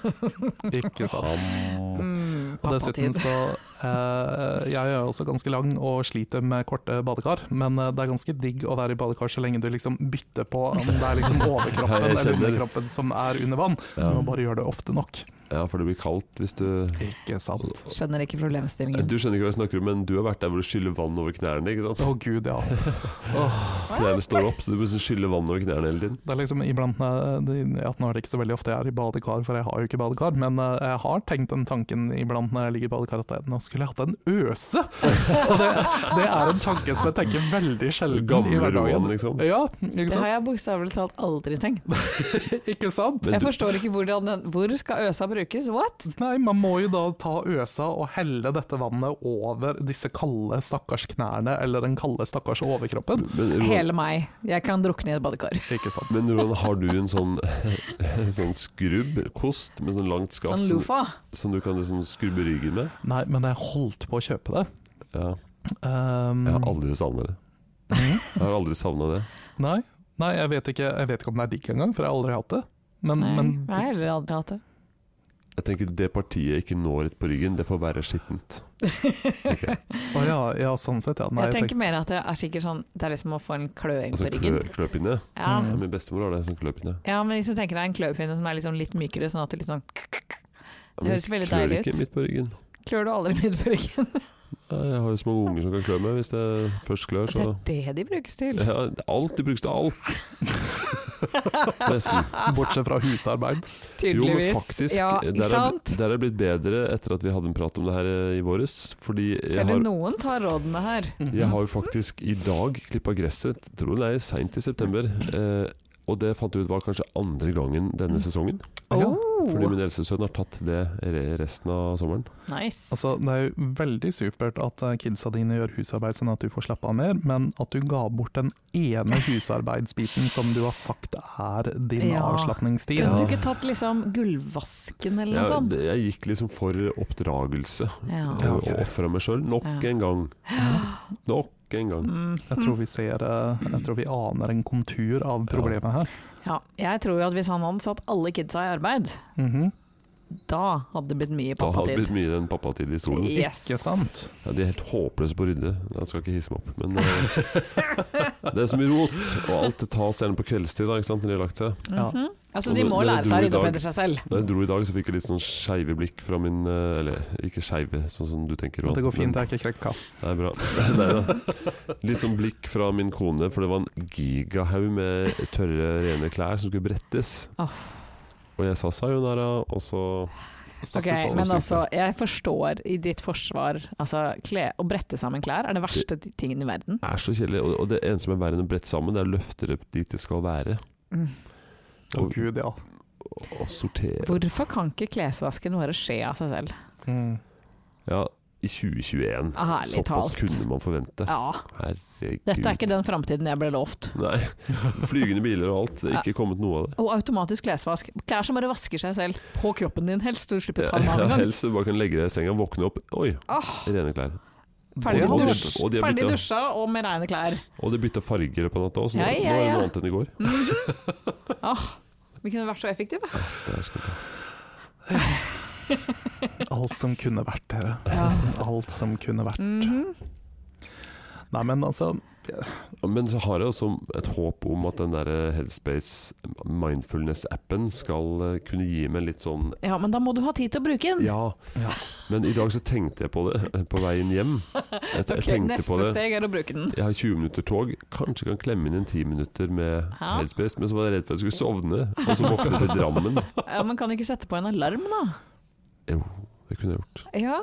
B: Ikke sant.
A: Han-
C: Mm,
B: Og dessuten
C: pappatid.
B: så eh, Jeg er også ganske lang og sliter med korte badekar, men eh, det er ganske digg å være i badekar så lenge du liksom
A: [laughs]
B: bytter på om det er liksom overkroppen
A: Ja, jeg
B: eller
A: kjenner-
B: underkroppen som er under vann. Du
A: Ja.
B: må bare gjøre det ofte nok.
A: Ja, for det blir kaldt hvis du
B: Ikke sant?
C: Skjønner ikke problemstillingen.
A: Du skjønner ikke hva jeg snakker om, men du har vært der hvor du skyller vann over knærne. ikke
B: Å
A: sant?
B: gud, ja.
A: Knærne står opp, så du må liksom skylle vann over knærne hele tiden.
B: Det er liksom iblant eh, det- ja, Nå er det ikke så veldig ofte jeg er i badekar, for jeg har jo ikke badekar, men eh, jeg har tenkt den tanken iblant når jeg ligger i badekar at jeg- nå skulle jeg hatt en øse! [laughs] Og det, det er en tanke som jeg tenker veldig sjelden i
A: Gamle Roan,
B: hverdagen.
A: liksom.
B: Ja, ikke
C: Det
B: sant?
C: har jeg bokstavelig talt aldri tenkt.
B: Ikke sant?
A: Men
C: Jeg
A: du,
C: forstår ikke hvordan den Hvor skal øsa brukes? What?
B: Nei, man må jo da ta øsa og helle dette vannet over disse kalde stakkars knærne, eller den kalde stakkars overkroppen.
A: men, Roan,
C: Hele meg. Jeg kan drukne i et badekar.
B: Ikke sant?
A: men Roan, har du en sånn, [laughs] en sånn skrubb, kost, med sånn langt skaft
C: En
A: som,
C: lofa.
A: som du kan liksom skrubbe ryggen med?
B: Nei, men jeg holdt på å kjøpe det.
A: Ja,
B: Um,
A: jeg har
C: Mm.
B: [laughs]
A: aldri savna det. Jeg har aldri savna det.
B: Mhm. Nei, nei jeg, vet ikke, jeg vet ikke om det er digg engang, for jeg har aldri hatt det. Men,
C: Nei,
B: men
C: jeg har heller aldri hatt det.
A: Jeg tenker Det partiet jeg ikke når et på ryggen, det får være skittent.
C: [laughs]
A: Ok.
B: Å ja, ja, sånn sett, ja. Nei,
C: jeg tenker mer at det er sikkert sånn Det er liksom å få en kløing
A: Altså
C: på ryggen.
A: klø, kløpinne.
C: Ja,
A: Ja,
B: Mm.
A: min bestemor har det som kløpinne.
C: ja, men hvis du tenker deg en kløpinne som er liksom litt mykere, sånn at du litt sånn
A: Ja, men
C: høres veldig
A: klør
C: deilig ut.
A: ikke midt på ryggen.
C: Klør du aldri midt på ryggen?
A: Ja, Jeg har jo små unger som kan klø meg hvis jeg først klør,
C: Det
A: så
C: er det de brukes til.
A: ja, Alt de brukes til alt. Nesten.
B: bortsett fra [laughs] husarbeid.
A: Jo,
C: Tydeligvis.
A: men faktisk. eh,
C: ja,
A: der,
C: ikke
A: er,
C: sant?
A: der er det blitt bedre etter at vi hadde en prat om det her eh, i våres. Fordi jeg
C: Ser du,
A: har,
C: noen tar rådene her.
A: jeg har jo faktisk i dag klippa gresset, tror det er seint i september. Eh, og det fant jeg ut var kanskje andre gangen denne sesongen.
B: Ja,
A: Fordi
C: Mm. Oh,
A: min eldste sønn har tatt det re- resten av sommeren.
C: nice.
B: Altså, det er jo veldig supert at eh, kidsa dine gjør husarbeid sånn at du får slappe av mer, men at du ga bort den
C: [laughs]
B: ene husarbeidsbiten som du har sagt er din
C: Ja.
B: avslapningstid.
C: Kunne du ikke tatt liksom gulvvasken eller noe
A: Jeg,
C: sånt?
A: det- jeg gikk liksom for oppdragelse
C: sånn. Ja.
B: Ja.
A: og og ofra meg sjøl. Nok
C: Ja.
A: en gang. Nok en gang.
C: Mm.
B: Jeg tror vi ser eh, Jeg tror vi aner en kontur av problemet her.
C: ja. Jeg tror jo at hvis han hadde satt alle kidsa i arbeid,
B: Mhm.
C: da hadde det blitt mye
A: Da hadde det
C: pappatid.
A: blitt mye den pappatid i solen.
C: Yes.
B: Ikke sant?
A: Ja, de er helt håpløse på å rydde. Jeg skal ikke hisse meg opp, men eh, Det er så mye rot, og alt det tas gjerne på kveldstid da, ikke sant, når de har lagt seg.
B: Ja.
C: Mhm. Altså,
A: Og
C: de
A: det-
C: må
A: det
C: lære
A: dro
C: seg å
A: i
C: rydde opp
A: dag.
C: etter seg selv.
A: Da jeg dro i dag, så fikk jeg litt sånn skeive blikk fra min eh, Eller ikke skeive, sånn som du tenker. Johan,
B: Det går fint,
A: men-
B: jeg er ikke krekk kaffe.
A: [laughs] Det er bra. Neida. Litt sånn blikk fra min kone, for det var en gigahaug med tørre, rene klær som skulle brettes.
C: Åh.
A: Og jeg sa sayonara, og så
C: Ok,
A: Så- så-
C: men
A: så-
C: altså, jeg forstår i ditt forsvar altså, kle, Å brette sammen klær er det verste tingen i verden.
A: er så kjedelig. Og, og det eneste som er verre enn å brette sammen, det er å løfte det dit det skal være.
B: Å gud, ja.
A: Og, og sortere.
C: Hvorfor kan ikke klesvasken bare skje av seg selv?
B: Mm.
A: Ja, i 2021.
C: Ah, Herlig
A: Såpass
C: talt.
A: kunne man forvente.
C: Ja,
A: Herregud.
C: dette er ikke den framtiden jeg ble lovt.
A: Nei. Flygende biler og alt. Det er ikke kommet noe av det.
C: Og automatisk klesvask. Klær som bare vasker seg selv. På kroppen din helst, så du slipper å ta
A: Ja,
C: dem av en gang.
A: helst du bare kan legge deg i senga, våkne opp Oi, rene klær.
C: Ferdig,
A: Og de-
C: dusj,
A: og de har
C: ferdig
A: byttet.
C: dusja og med reine
A: [laughs]
C: klær.
A: Og de bytta farge i løpet av natta også, så nå,
C: Ja, ja,
A: nå er det
C: ja.
A: noe annet enn i går.
C: Åh, vi kunne vært så effektive.
A: Det er skummelt.
B: Alt som kunne vært, dere.
C: Ja.
B: Alt som kunne vært.
C: Mhm.
B: Nei, men altså
A: Men så har jeg også et håp om at den der Headspace mindfulness-appen skal eh, kunne gi meg litt sånn
C: ja, men da må du ha tid til å bruke den.
A: ja.
B: Ja.
A: Men i dag så tenkte jeg på det eh, på veien hjem. Jeg, jeg
C: Ok,
A: tenkte
C: neste
A: på det.
C: steg er å bruke
A: [laughs]
C: den.
A: Jeg har 20 minutter tog, kanskje kan klemme inn en 10 minutter med
C: Ja.
A: Headspace, men så var jeg redd for at jeg skulle sovne, og så våkne til Drammen.
C: Ja, men kan du ikke sette på en alarm, da?
A: Jo, det kunne jeg gjort.
C: Ja,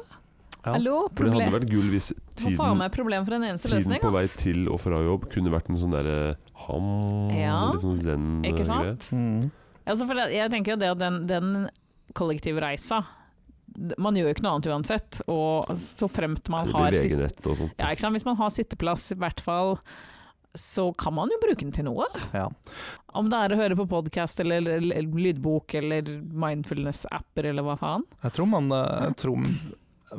B: Ja,
C: hallo?
A: For det hadde
C: Problem.
A: vært gull hvis
C: Må faen
A: tiden,
C: meg problem for en eneste
A: tiden
C: løsning,
A: på vei
C: ass.
A: til og fra jobb kunne vært en sånn derre ham,
C: Ja,
A: litt sånn
C: Ikke
A: zen-greie.
C: sant?
B: mm.
C: Altså, for det, jeg tenker jo det at den, den kollektivreisa d- Man gjør jo ikke noe annet uansett, og så fremt man
A: Eller
C: har
A: bli
C: sitt,
A: VG-nett og sånt.
C: ja, ikke sant? Hvis man har sitteplass, i hvert fall, så kan man jo bruke den til noe.
B: ja.
C: Om det er å høre på podkast eller, eller lydbok eller mindfulness-apper eller hva faen.
B: Jeg tror man eh, jeg tror,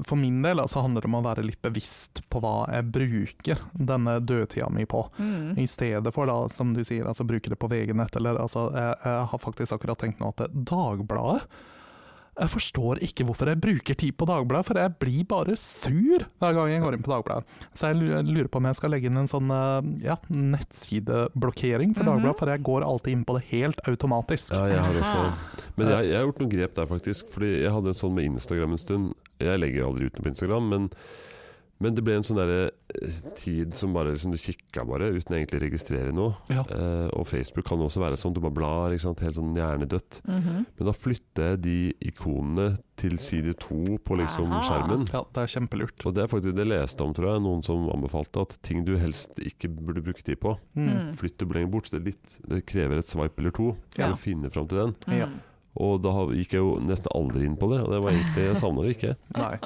B: For min del altså, handler det om å være litt bevisst på hva jeg bruker denne dødtida mi på.
C: Mm.
B: I stedet for, da, som du sier, altså, bruke det på VG-nett eller altså, jeg, jeg har faktisk akkurat tenkt nå at eh, Dagbladet Jeg forstår ikke hvorfor jeg bruker tid på Dagbladet, for jeg blir bare sur hver gang jeg går inn på Dagbladet. Så jeg lu- lurer på om jeg skal legge inn en sånn eh, ja, nettsideblokkering for
C: Mhm.
B: Dagbladet, for jeg går alltid inn på det helt automatisk.
A: Ja, jeg har også
C: Aha.
A: Men jeg, jeg har gjort noen grep der, faktisk. Fordi jeg hadde en sånn med Instagram en stund. Jeg legger jo aldri ut noe på Instagram, men, men det ble en sånn derre eh, tid som bare som du kikka bare, uten egentlig å registrere noe.
B: Ja.
A: Eh, og Facebook kan jo også være sånn, du bare blar, ikke sant? helt sånn hjernedødt.
C: Mhm.
A: Men da flytter jeg de ikonene til side to på liksom
C: Aha.
A: skjermen.
B: Ja, det er kjempelurt.
A: Og det er faktisk det jeg leste om, tror jeg. Noen som anbefalte at ting du helst ikke burde bruke tid på,
B: Mm.
C: Mm.
A: flytter lenger bort. Det, er litt, det krever et sveip eller to for
C: Ja.
A: å finne fram til den.
B: Ja.
C: Mm.
A: Og da har- gikk jeg jo nesten aldri inn på det, og det var egentlig, jeg savna det ikke.
B: Nei.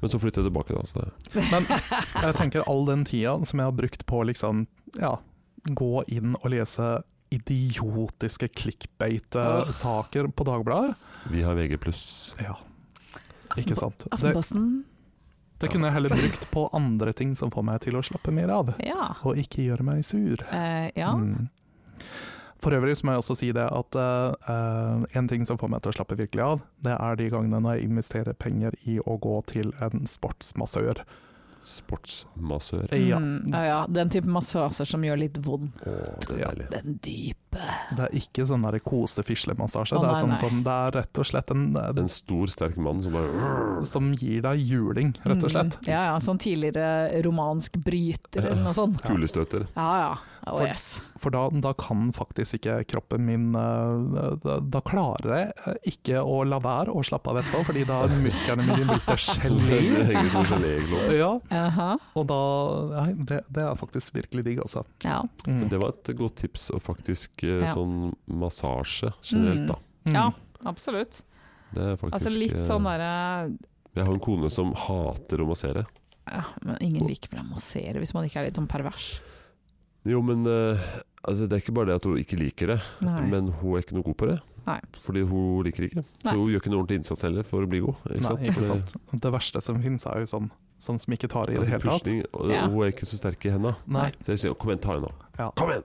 A: Men så flyttet jeg tilbake, da. Så det.
B: Men jeg tenker all den tida som jeg har brukt på å liksom, ja, gå inn og lese idiotiske clickbait-saker på Dagbladet
A: Vi har VG pluss.
B: Ja, ikke sant. Det,
C: Aftenposten.
B: det kunne jeg heller brukt på andre ting som får meg til å slappe mer av,
C: Ja.
B: og ikke gjøre meg sur.
C: Eh, ja.
B: Mm. For øvrig så må jeg også si det at eh, eh, en ting som får meg til å slappe virkelig av, det er de gangene når jeg investerer penger i å gå til en sportsmassør.
A: Sportsmassør.
B: Ja,
C: Mm. ja, ja. Den type massasjer som gjør litt vondt.
A: Å, det er
B: Ja.
A: deilig.
C: Den dype.
B: det er ikke sånn der kosefislemassasje. det,
C: Å, nei,
B: er sånn
C: nei.
B: som, det er rett og slett en eh,
A: En stor, sterk mann som bare
B: som gir deg juling, rett og slett.
C: Mm. Ja, ja. Sånn tidligere romansk bryter eller noe sånt.
A: Kulestøter.
C: Ja, ja. Å,
B: For-
C: yes.
B: For da, da kan faktisk ikke kroppen min eh, da, da klarer jeg eh, ikke å la være å slappe av etterpå, fordi da er musklene mine blitt
A: [laughs]
B: til
A: Det
B: gelé.
A: henger som geléglobber.
B: Ja,
C: Aha.
B: og da Nei, det, det er faktisk virkelig digg, altså.
C: [laughs] Ja.
B: Mm.
A: Men det var et godt tips, og faktisk eh,
C: Ja.
A: sånn massasje generelt, da.
B: Mm.
C: ja, absolutt.
A: Det er faktisk
C: Altså litt
A: eh,
C: sånn derre
A: Jeg har en kone som hater å massere.
C: ja, Men ingen liker vel å massere hvis man ikke er litt sånn pervers.
A: Jo, men eh, altså, det er ikke bare det at hun ikke liker det,
C: Nei.
A: men hun er ikke noe god på det.
C: Nei.
A: Fordi hun liker ikke. Så
C: Nei.
A: hun gjør ikke noen ordentlig innsats heller for å bli god. Ikke sant? Eh,
B: Nei, ikke sant. Det verste som finnes, er jo sånn, sånn som ikke tar i det
A: Altså,
B: hele tatt.
A: pusling, og
C: Ja.
A: Hun er ikke så sterk i henda.
B: Nei,
A: Så jeg sier 'kom igjen, ta henne'.
B: ja.
A: Kom igjen!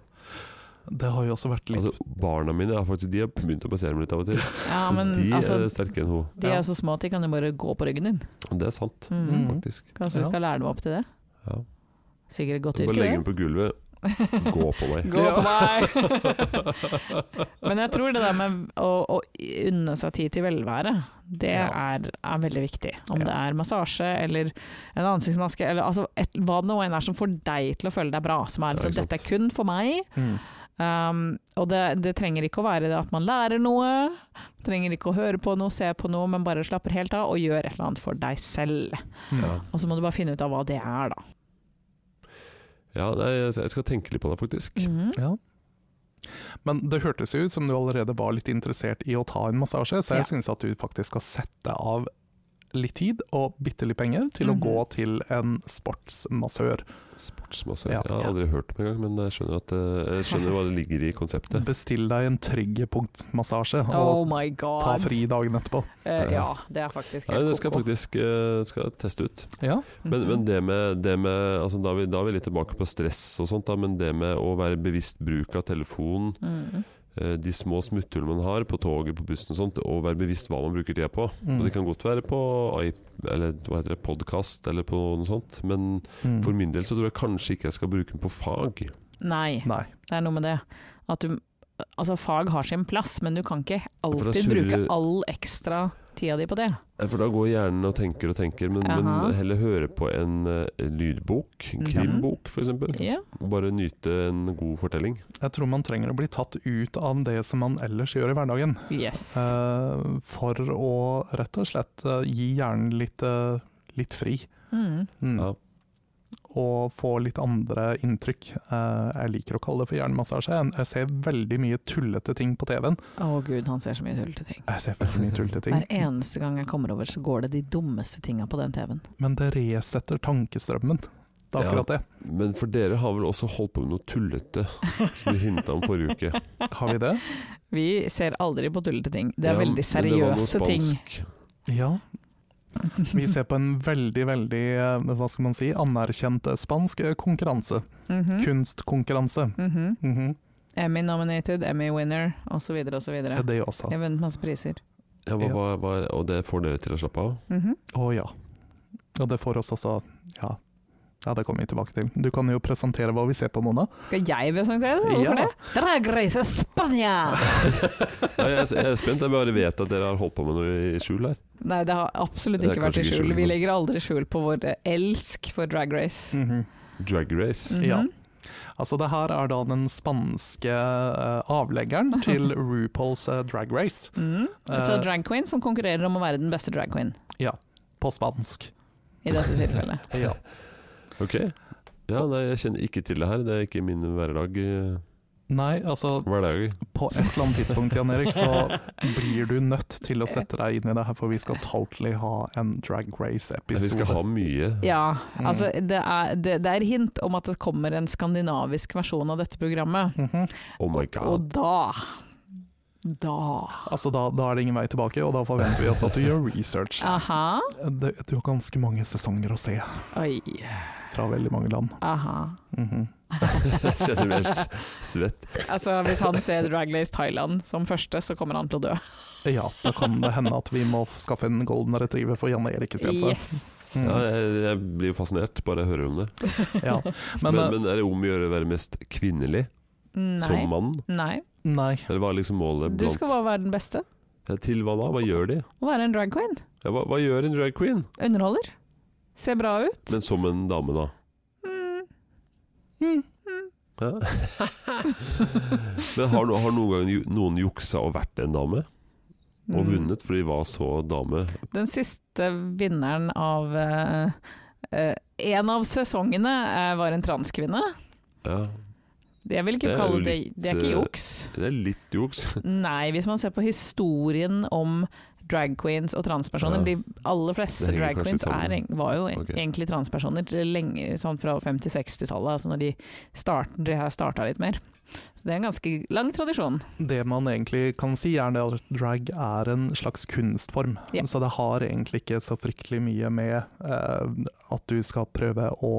B: Det har jo også vært litt
A: Altså, barna mine er faktisk, de har begynt å passere meg litt av og til.
C: Ja, men
A: de eh,
C: altså,
A: er sterkere enn hun.
C: de
B: ja.
C: er så små at de kan jo bare gå på ryggen din.
A: Og Det er sant,
C: Mm.
B: Mm.
A: faktisk.
C: Kanskje
B: Ja.
C: du kan lære dem opp til det?
A: Ja.
C: Sikkert et godt
A: Så bare legger
C: yrke,
A: den på gulvet. Gå på
C: [laughs]
A: meg.
C: Gå på meg! Men jeg tror det der med å, å unne seg tid til velvære, det
B: Ja.
C: er, er veldig viktig. Om
B: Ja.
C: det er massasje eller en ansiktsmaske, eller altså et, hva det nå enn er som får deg til å føle deg bra. Som
A: Ja,
C: er
A: ikke
C: liksom,
A: sant.
C: dette er kun for meg.
B: mm.
C: Um, og det, det trenger ikke å være det at man lærer noe, trenger ikke å høre på noe, se på noe, men bare slapper helt av og gjør et eller annet for deg selv.
B: Mm.
A: Ja,
C: Og så må du bare finne ut av hva det er, da.
A: ja nei, jeg jeg skal tenke litt på det, faktisk.
C: Mhm.
B: Ja. Men det hørtes jo ut som du allerede var litt interessert i å ta en massasje, så jeg
C: Ja.
B: synes at du faktisk skal sette av litt tid og bitte litt penger til
C: Mhm.
B: å gå til en sportsmassør.
A: Sportsmassør.
B: Ja.
A: Jeg har aldri hørt om engang, men jeg skjønner, at, eh, jeg skjønner hva det ligger i konseptet.
B: Bestill deg en tryggepunktmassasje
C: Oh
B: og
C: my
B: ta
C: god.
B: fri dagen etterpå.
C: Eh, ja, det er faktisk
A: Nei,
C: helt
A: det skal jeg
C: koko.
A: faktisk eh, skal jeg teste ut.
B: Ja,
A: Men,
C: Mhm.
A: men det med, det med altså, da, er vi, da er vi litt tilbake på stress og sånt, da, men det med å være bevisst bruk av telefon,
C: Mhm.
A: eh, de små smutthullene man har på toget, på bussen og sånt, og være bevisst hva man bruker tida på.
B: Mm.
A: Og
C: Mhm.
A: det kan godt være på iP- eller hva heter det, podkast eller på noe sånt, men
B: Mm.
A: for min del så tror jeg kanskje ikke jeg skal bruke den på fag.
C: Nei,
B: Nei.
C: det er noe med det. At du Altså, fag har sin plass, men du kan ikke
A: for da
C: alltid
A: surrer-
C: bruke all ekstra tida di på det.
A: Eh, For da går hjernen og tenker og tenker, men,
C: Aha.
A: men heller høre på en eh, lydbok, en
C: Mhm.
A: krimbok f.eks.
C: Ja.
A: Bare nyte en god fortelling.
B: Jeg tror man trenger å bli tatt ut av det som man ellers gjør i hverdagen,
C: Yes.
B: eh, for å rett og slett eh, gi hjernen litt, eh, litt fri.
C: Mhm.
B: Mm.
A: Ja.
B: Og få litt andre inntrykk. Eh, jeg liker å kalle det for hjernemassasje. Jeg- Jeg ser veldig mye tullete ting på TV-en.
C: Å gud, han ser så mye tullete ting.
B: Jeg ser veldig mye tullete
C: Hver
B: ting,
C: eneste gang jeg kommer over, så går det de dummeste tinga på den TV-en.
B: men det resetter tankestrømmen. Det er akkurat det.
A: Men for dere har vel også holdt på med noe tullete [laughs] som du hinta om forrige uke?
B: Har vi det?
C: Vi ser aldri på tullete ting. Det er
A: Ja, men
C: veldig
A: det var noe
C: seriøse
A: [laughs]
C: ting.
A: spansk.
B: Ja. Vi ser på en veldig, veldig, eh, hva skal man si, anerkjent eh, spansk eh, konkurranse.
C: Mhm.
B: Kunstkonkurranse.
C: Mhm.
B: Mhm.
C: Emmy nominated, Emmy winner, osv., osv.
B: Det
C: Jeg
B: er Det også.
C: har vunnet masse priser.
A: Ja, hva,
B: Ja.
A: hva, hva, og det får dere til å slappe av?
C: Mhm.
B: Å ja. Og det får oss også Ja. Ja, det kommer vi tilbake til. Du kan jo presentere hva vi ser på, Mona.
C: Skal jeg presentere det?
B: Ja.
C: Hvorfor det? Dragreise Spania!
A: [laughs] Ja, jeg, er- jeg er spent, jeg bare vet at dere har holdt på med noe i skjul her.
C: Nei, det har absolutt
A: Det er
C: ikke vært
A: kanskje
C: i
A: ikke
C: skjul.
A: skjul,
C: Vi
A: men- Mm.
C: legger aldri skjul på vår eh, elsk for drag race.
A: Drag race.
C: Mhm.
B: Ja. Altså, det her er da den spanske eh, avleggeren
C: [laughs]
B: til RuPaul's eh, Drag Race
C: Mhm. Altså
B: Eh,
C: drag queen som konkurrerer om å være den beste drag queen,
B: på spansk.
C: i dette
A: [laughs]
C: tilfellet.
B: Ja.
A: Ok. Ja, nei, jeg kjenner ikke til det her. Det er ikke min hverdag. eh,
B: Nei, altså,
A: hverdag.
B: på et eller annet tidspunkt, Jan Erik, så blir du nødt til å sette deg inn i det her, for vi skal totally ha en Drag
A: Vi skal
B: Race-episode.
A: ha mye.
C: Ja,
B: Mm.
C: altså det er, det, det er hint om at det kommer en skandinavisk versjon av dette programmet.
B: Mhm.
A: Oh my
C: Og
A: god.
C: da Da
B: Altså, da, da er det ingen vei tilbake, og da forventer vi også at du gjør research.
C: Aha.
B: Det, det er jo ganske mange sesonger å se
C: Oi.
B: fra veldig mange land.
A: [laughs]
C: Aha.
B: Mhm.
A: Jeg kjenner meg helt s- svett.
C: Altså, hvis han ser Drag Race Thailand som første, så kommer han til å dø.
B: Ja, da kan det hende at vi må skaffe en golden retriever for Janne Erik istedenfor.
A: [laughs]
C: Yes!
B: Mm.
A: Ja, jeg, jeg blir fascinert bare jeg hører om det.
B: Ja. Men,
A: Men,
B: eh,
A: men er det om å gjøre å være mest kvinnelig som
C: Nei.
A: mann?
C: Nei.
B: nei.
A: Eller hva er liksom målet
C: Du skal
A: blant
C: bare være den beste.
A: Ja, Til hva da? Hva gjør de?
C: Å være en drag queen.
A: Ja, hva, hva gjør en drag queen?
C: Underholder. Ser bra ut.
A: Men som en dame, da?
C: Mm.
A: Ja. [laughs] Men har, no- har noen gang ju- noen juksa og vært en dame? Og
C: Mm.
A: vunnet fordi de var så dame?
C: Den siste vinneren av eh, eh, En av sesongene eh, var en transkvinne.
A: Ja,
C: Jeg vil ikke
A: Det er
C: kalle
A: jo
C: det
A: litt,
C: Det er ikke
A: eh,
C: juks.
A: det er litt juks. [laughs]
C: Nei, hvis man ser på historien om drag queens og transpersoner
A: Ja.
C: De aller fleste
A: Det henger
C: drag
A: kanskje
C: queens er,
A: sammen.
C: eng- var jo en-
A: Ok.
C: egentlig transpersoner til lenge, sånn fra 50-60-tallet, altså når de, start, de har starta litt mer. Så det er en ganske lang tradisjon.
B: Det man egentlig kan si, er det at drag er en slags kunstform.
C: Ja.
B: Så det har egentlig ikke så fryktelig mye med eh, at du skal prøve å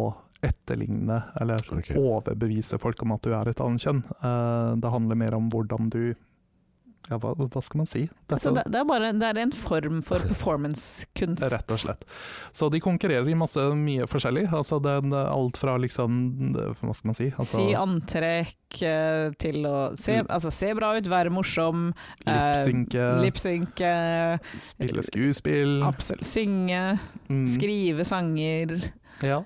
B: etterligne eller
A: Ok.
B: overbevise folk om at du er et annet kjønn. Eh, det handler mer om hvordan du Ja, hva, hva skal man si? Dette-
C: Så det, det, er bare, det er en form
A: [laughs]
C: for performancekunst.
B: Rett og slett. Så de konkurrerer i masse mye forskjellig. Altså den, alt fra liksom Hva skal man si? Altså,
C: si antrekk eh, til å se,
B: Mm.
C: altså, se bra ut, være morsom. eh,
B: Lipsynke,
C: lipsynke,
B: spille skuespill
C: absolutt, synge,
B: mm,
C: skrive sanger.
B: Ja.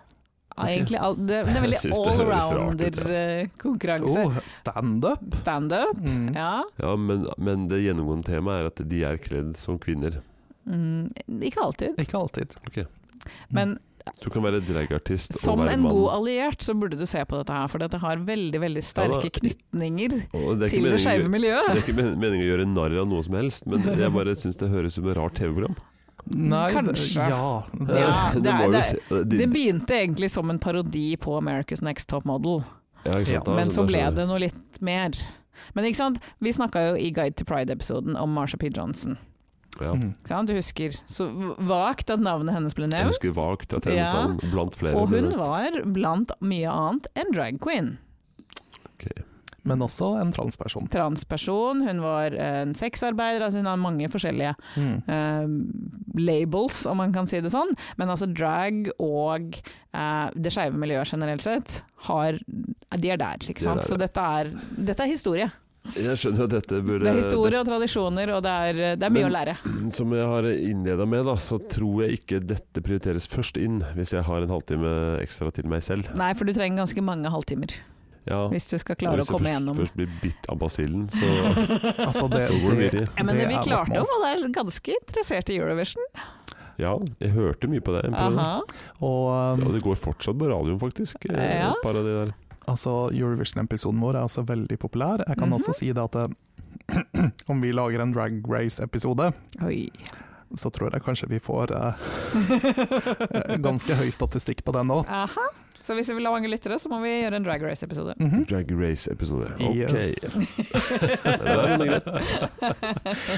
C: Ja,
A: Ok.
C: Egentlig all, det,
A: [laughs]
C: det er
A: Jeg
C: veldig
A: synes det høres rart ut, altså. ass.
C: allrounder-konkurranse.
B: Oh, Standup!
C: Standup,
B: Mm.
C: ja.
A: Ja, men, men det gjennomgående temaet er at de er kledd som kvinner.
C: Mm, ikke alltid,
B: Ikke alltid.
C: men
A: Du kan være dragartist og
C: som
A: Mm. være
C: en
A: mann.
C: god alliert så burde du se på dette her, for dette har veldig veldig
A: Ja,
C: sterke
A: da-
C: knytninger
A: Og det er ikke
C: til det
A: meningen-
C: skeive
A: Det
C: miljøet.
A: er ikke men- meningen å gjøre narr av noe som helst,
C: [laughs]
A: men jeg bare syns det høres ut som et rart TV-program.
B: Nei,
C: Kanskje.
B: Ja.
A: [laughs]
B: Det,
C: Ja, det er-
A: må jo
C: det er-
A: se- de-
C: Det begynte egentlig som en parodi på America's Next Top Model.
A: ja, ikke sant, da-
C: Men så
A: da
C: ble
A: skjønner jeg.
C: det noe litt mer. Men ikke sant, vi snakka jo i Guide to Pride-episoden om Marsha P. Johnson.
A: ja.
B: Mm.
C: Ikke sant? Du husker så vagt at navnet hennes ble
A: Jeg
C: nevnt.
A: husker vagt at hennes
C: Ja.
A: navn blant flere
C: Og
A: ble
C: hun
A: nevnt.
C: var blant mye annet en drag queen.
A: Ok.
B: Men også en transperson.
C: Transperson, hun var eh, en sexarbeider, altså hun har mange forskjellige
B: Mm.
C: eh, labels, om man kan si det sånn. Men altså drag og eh, det skeive miljøet generelt sett, har, de er der, ikke
A: De er
C: sant.
A: der,
C: Så dette er, dette er historie.
A: Jeg skjønner at dette burde
C: Det er historie og tradisjoner, og det er, det er mye
A: Men-
C: å lære.
A: Som jeg har innleda med, da, så tror jeg ikke dette prioriteres først inn hvis jeg har en halvtime ekstra til meg selv.
C: Nei, for du trenger ganske mange halvtimer
A: Ja,
C: hvis du skal
A: og
C: klare å
A: hvis jeg
C: komme
A: først,
C: gjennom.
A: først blir bitt av basillen, så,
B: Altså, det,
A: [laughs] så
C: [laughs]
A: går det mye
B: det,
A: til.
C: Ja, men
B: det
C: vi
B: er vårt
C: klarte
B: mål.
C: jo å være ganske interessert i Eurovision.
A: Ja, jeg hørte mye på det. en periode.
C: Aha.
B: Og
A: Og
B: um,
A: det går fortsatt på radioen, faktisk. eh,
C: Ja.
A: Et par av de der.
B: altså, Eurovision-episoden vår er også veldig populær. Jeg kan
C: Mhm.
B: også si det at eh, [clears throat] om vi lager en Drag Race-episode,
C: Oi.
B: så tror jeg kanskje vi får
C: [laughs]
B: eh, ganske høy statistikk på den òg.
C: Aha. Så hvis vi vil ha mange lyttere, så må vi gjøre en Drag Race-episode.
A: Drag Race-episode.
B: Hm? Mhm. Yes.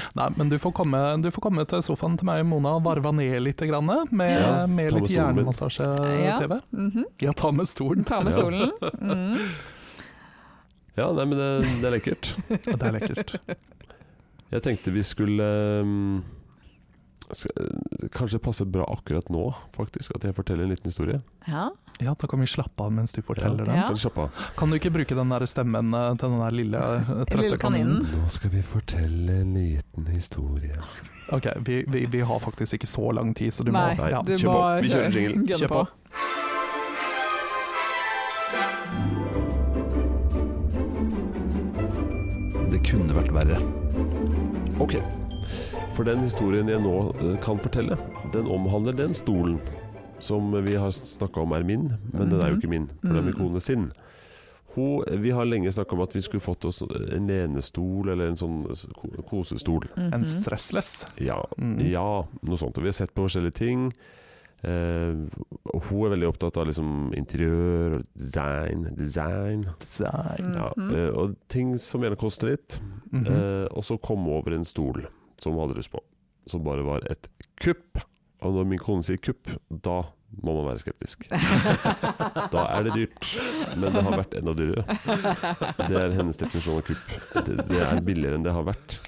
B: [laughs] Nei, men du får, komme, du får komme til sofaen til meg og Mona og varve ned litt grann, med,
C: Ja,
B: med
A: ta med
B: litt
A: stolen min.
B: hjernemassasje-TV. Ja.
C: Mhm.
B: ta med
C: [laughs]
B: stolen.
C: Ta med
A: Ja. [laughs]
C: stolen. Mhm.
A: Ja, nei, men det, det er lekkert.
B: Det er lekkert.
A: Jeg tenkte vi skulle ehm, sk- Kanskje passe bra akkurat nå, faktisk, at jeg forteller en liten historie.
C: Ja.
B: Ja, da kan vi slappe av mens du forteller den.
C: Ja.
A: Kan du slappe av?
B: Kan du ikke bruke den der stemmen eh, til den der lille eh,
C: Lille
B: trøtte kaninen?
C: kaninen.
A: Nå skal vi fortelle en liten historie.
B: Ok, vi, vi, vi har faktisk ikke så lang tid, så du må
C: Nei,
B: ja,
C: du
A: kjør
C: må
A: på. Vi kjører
C: kjøre-
A: jingle.
C: gønne
B: Kjør på.
A: Det kunne vært verre. Ok. For den historien jeg nå eh, kan fortelle, den omhandler den stolen som vi har snakka om er min, men den er jo
C: Mhm.
A: ikke min, for det er min
C: Mm.
A: kone sin. Hun, vi har lenge snakka om at vi skulle fått oss en lenestol eller en sånn s- ko- kosestol.
B: En
C: Mhm.
B: stressless.
A: Ja,
B: Mm.
A: ja, noe sånt. Og vi har sett på forskjellige ting. Eh, og hun er veldig opptatt av liksom interiør og design. design.
B: Design.
A: Ja,
C: Mhm.
A: eh, og ting som gjerne koster litt.
B: Mhm.
A: Eh, og så kom hun over en stol som hun hadde lyst på, som bare var et kupp. Og når min kone sier kupp, da må man være skeptisk. [laughs] Da er det dyrt, men det har
C: [laughs]
A: vært enda dyrere. Det er hennes definisjon av kupp. Det, det er billigere enn det har vært.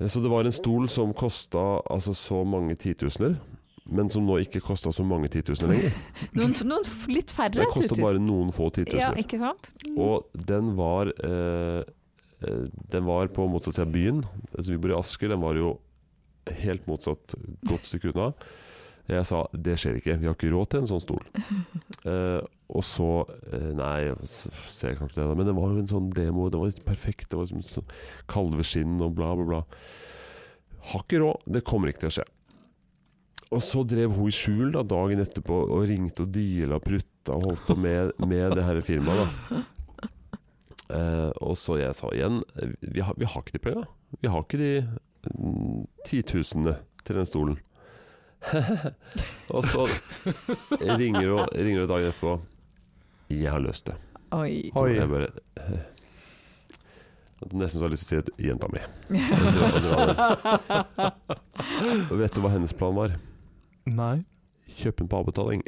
A: Eh, Så det var en stol som kosta altså så mange titusener, men som nå ikke kosta så mange titusener lenger.
C: Noen, noen f- litt færre
A: Den kosta
C: tusen.
A: bare noen få
C: Ja,
A: titusener.
C: ikke sant?
A: Og den var eh, eh, Den var på motsatt side av byen. Altså, vi bor i Asker, den var jo helt motsatt, godt stykke unna. Jeg sa det skjer ikke, vi har ikke råd til en sånn stol. Eh, og så eh, Nei, s- ser jeg kanskje det, da. Men det var jo en sånn demo, det var helt perfekt. Det var liksom sånn kalveskinn og bla, bla, bla. Har ikke råd, det kommer ikke til å skje. Og så drev hun i skjul da, dagen etterpå og ringte og deala og prutta og holdt på med, med det her firmaet. da Eh, og så jeg sa igjen eh, Vi har, vi har ikke de penga. Vi har ikke de mm, titusenene til den stolen. [laughs] og så ringer hun ringer hun dagen etterpå. Jeg har løst det.
C: [laughs] Oi.
A: Så
B: [laughs] Oi.
A: jeg bare eh, Nesten så har jeg lyst til å si jenta mi. Og dra- og dra. Vet du hva hennes plan var?
B: Nei.
A: Kjøp den på avbetaling.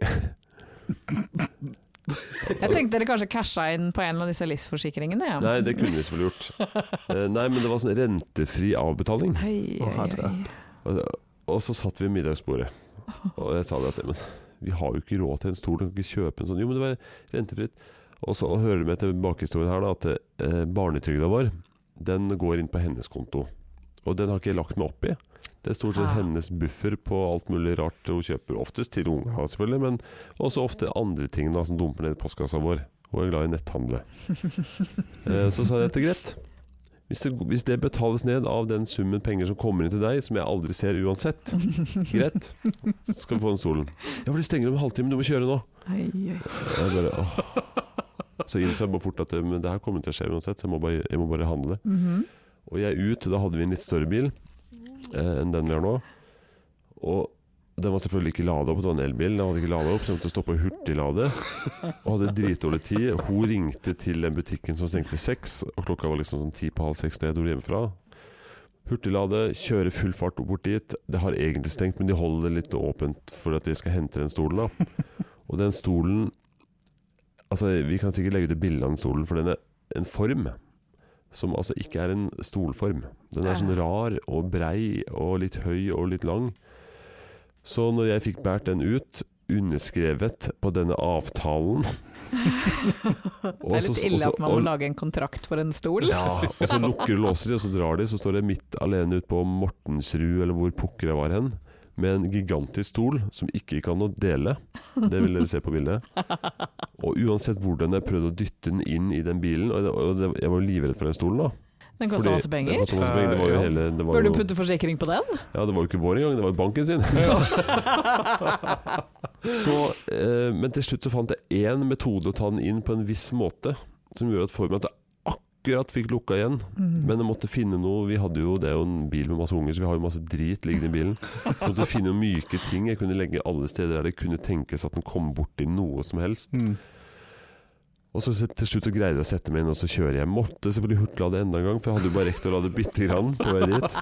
C: Jeg tenkte dere kanskje casha inn på en av disse livsforsikringene. Ja.
A: Nei, det kunne vi selvfølgelig gjort. Eh, Nei, men det var sånn rentefri avbetaling.
C: Oi,
B: Å,
C: oi,
B: herre.
C: oi.
A: Og, og så satt vi ved middagsbordet, og jeg sa det at men, vi har jo ikke råd til en stol, vi kan ikke kjøpe en sånn. Jo, men det var rentefritt. Og så hører du med til bakhistorien her da, at eh, barnetrygda vår, den går inn på hennes konto. Og den har ikke jeg lagt meg opp i. Det er stort sett
C: Ah.
A: hennes buffer på alt mulig rart hun kjøper. Oftest til unga, selvfølgelig, men også ofte andre ting da, som dumper ned i postkassa vår. Hun er glad i netthandle. Eh, Så sa jeg at det er greit. Hvis det, hvis det betales ned av den summen penger som kommer inn til deg, som jeg aldri ser uansett, greit, så skal vi få den stolen. Ja, for de stenger om en halvtime, du må kjøre nå.
C: Oi, oi.
A: Og Jeg bare, åh. Så innså jeg bare fort at eh, men det her kommer til å skje uansett, så jeg må bare, jeg må bare handle. [laughs]
C: Mhm.
A: Og jeg ut, da hadde vi en litt større bil eh, enn den vi har nå. Og den var selvfølgelig ikke lada opp, det var en elbil. Den hadde ikke lada opp, så jeg måtte stoppe og hurtiglade. Og hadde dritdårlig tid. Hun ringte til den butikken som stengte seks, og klokka var liksom sånn ti på halv seks da jeg dro hjemmefra. Hurtiglade, kjøre full fart bort dit. Det har egentlig stengt, men de holder det litt åpent for at vi skal hente den stolen. da Og den stolen Altså, vi kan sikkert legge ut et bilde av den stolen, for den er en form som altså ikke er en stolform. Den er sånn rar og brei og litt høy og litt lang. Så når jeg fikk båret den ut, underskrevet på denne avtalen
C: Det er litt ille at man må lage en kontrakt for en stol.
A: Ja, og så lukker og låser de, og så drar de. Så står jeg midt alene ute på Mortensrud, eller hvor pokker jeg var hen, med en gigantisk stol som ikke gikk an å dele. Det vil dere se på bildet. Og uansett hvordan jeg prøvde å dytte den inn i den bilen Og, det, og det, jeg var jo livredd for den stolen, da.
C: [laughs] Den koster
A: Fordi-
C: masse
A: Den
C: penger.
A: kostet masse penger. Det var
B: Eh,
A: jo
B: ja.
A: hele det var
C: Bør du
A: jo,
C: putte forsikring på den?
A: Ja, det var jo ikke vår engang, det var jo banken sin. så, eh, men til slutt så fant jeg én metode å ta den inn på en viss måte, som gjorde at formen at jeg akkurat fikk lukka igjen.
C: Mm.
A: Men jeg måtte finne noe Vi hadde jo, det er jo en bil med masse unger, så vi har jo masse drit liggende i bilen. Så jeg måtte finne noen myke ting jeg kunne legge alle steder der det kunne tenkes at den kom borti noe som helst.
B: [laughs] Mm.
A: Og så set- til slutt så greide jeg å sette meg inn, og så kjører jeg. Måtte selvfølgelig hurtiglade enda en gang, for jeg hadde jo bare rekt å lade bitte grann på vei dit.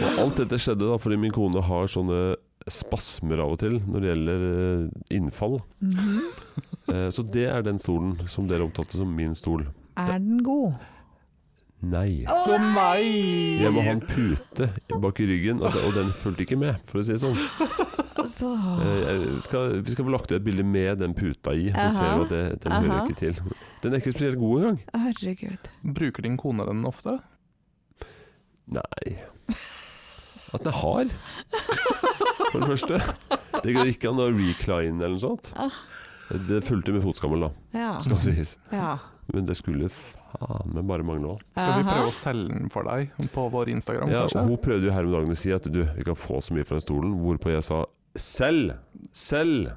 A: Og alt dette skjedde da fordi min kone har sånne spasmer av og til når det gjelder eh, innfall. Mm-hmm.
C: Mhm.
A: Eh, Så det er den stolen som dere omtalte som min stol.
C: Er den god?
A: Nei.
B: Å nei!
A: Jeg må ha en pute bak i ryggen, altså, og den fulgte ikke med, for å si det sånn.
C: Så.
A: Eh, jeg skal, vi skal få lagt ut et bilde med den puta i, så
C: Aha.
A: ser du at det, den hører
C: Aha.
A: ikke til. Den er ikke spesielt god engang.
C: Herregud.
B: Bruker din kone den ofte?
A: Nei At den er hard, for det første. Det går ikke an å recline eller noe sånt.
C: Ah.
A: Det fulgte med fotskammel, da,
C: Ja.
A: skal sies.
C: ja.
A: Men det skulle faen meg bare mangle òg.
B: Skal vi
C: Aha.
B: prøve å selge den for deg på vår Instagram,
A: Ja,
B: kanskje?
A: og hun prøvde jo her om dagen å si at du, vi kan få så mye fra den stolen, hvorpå jeg sa selv! Selv!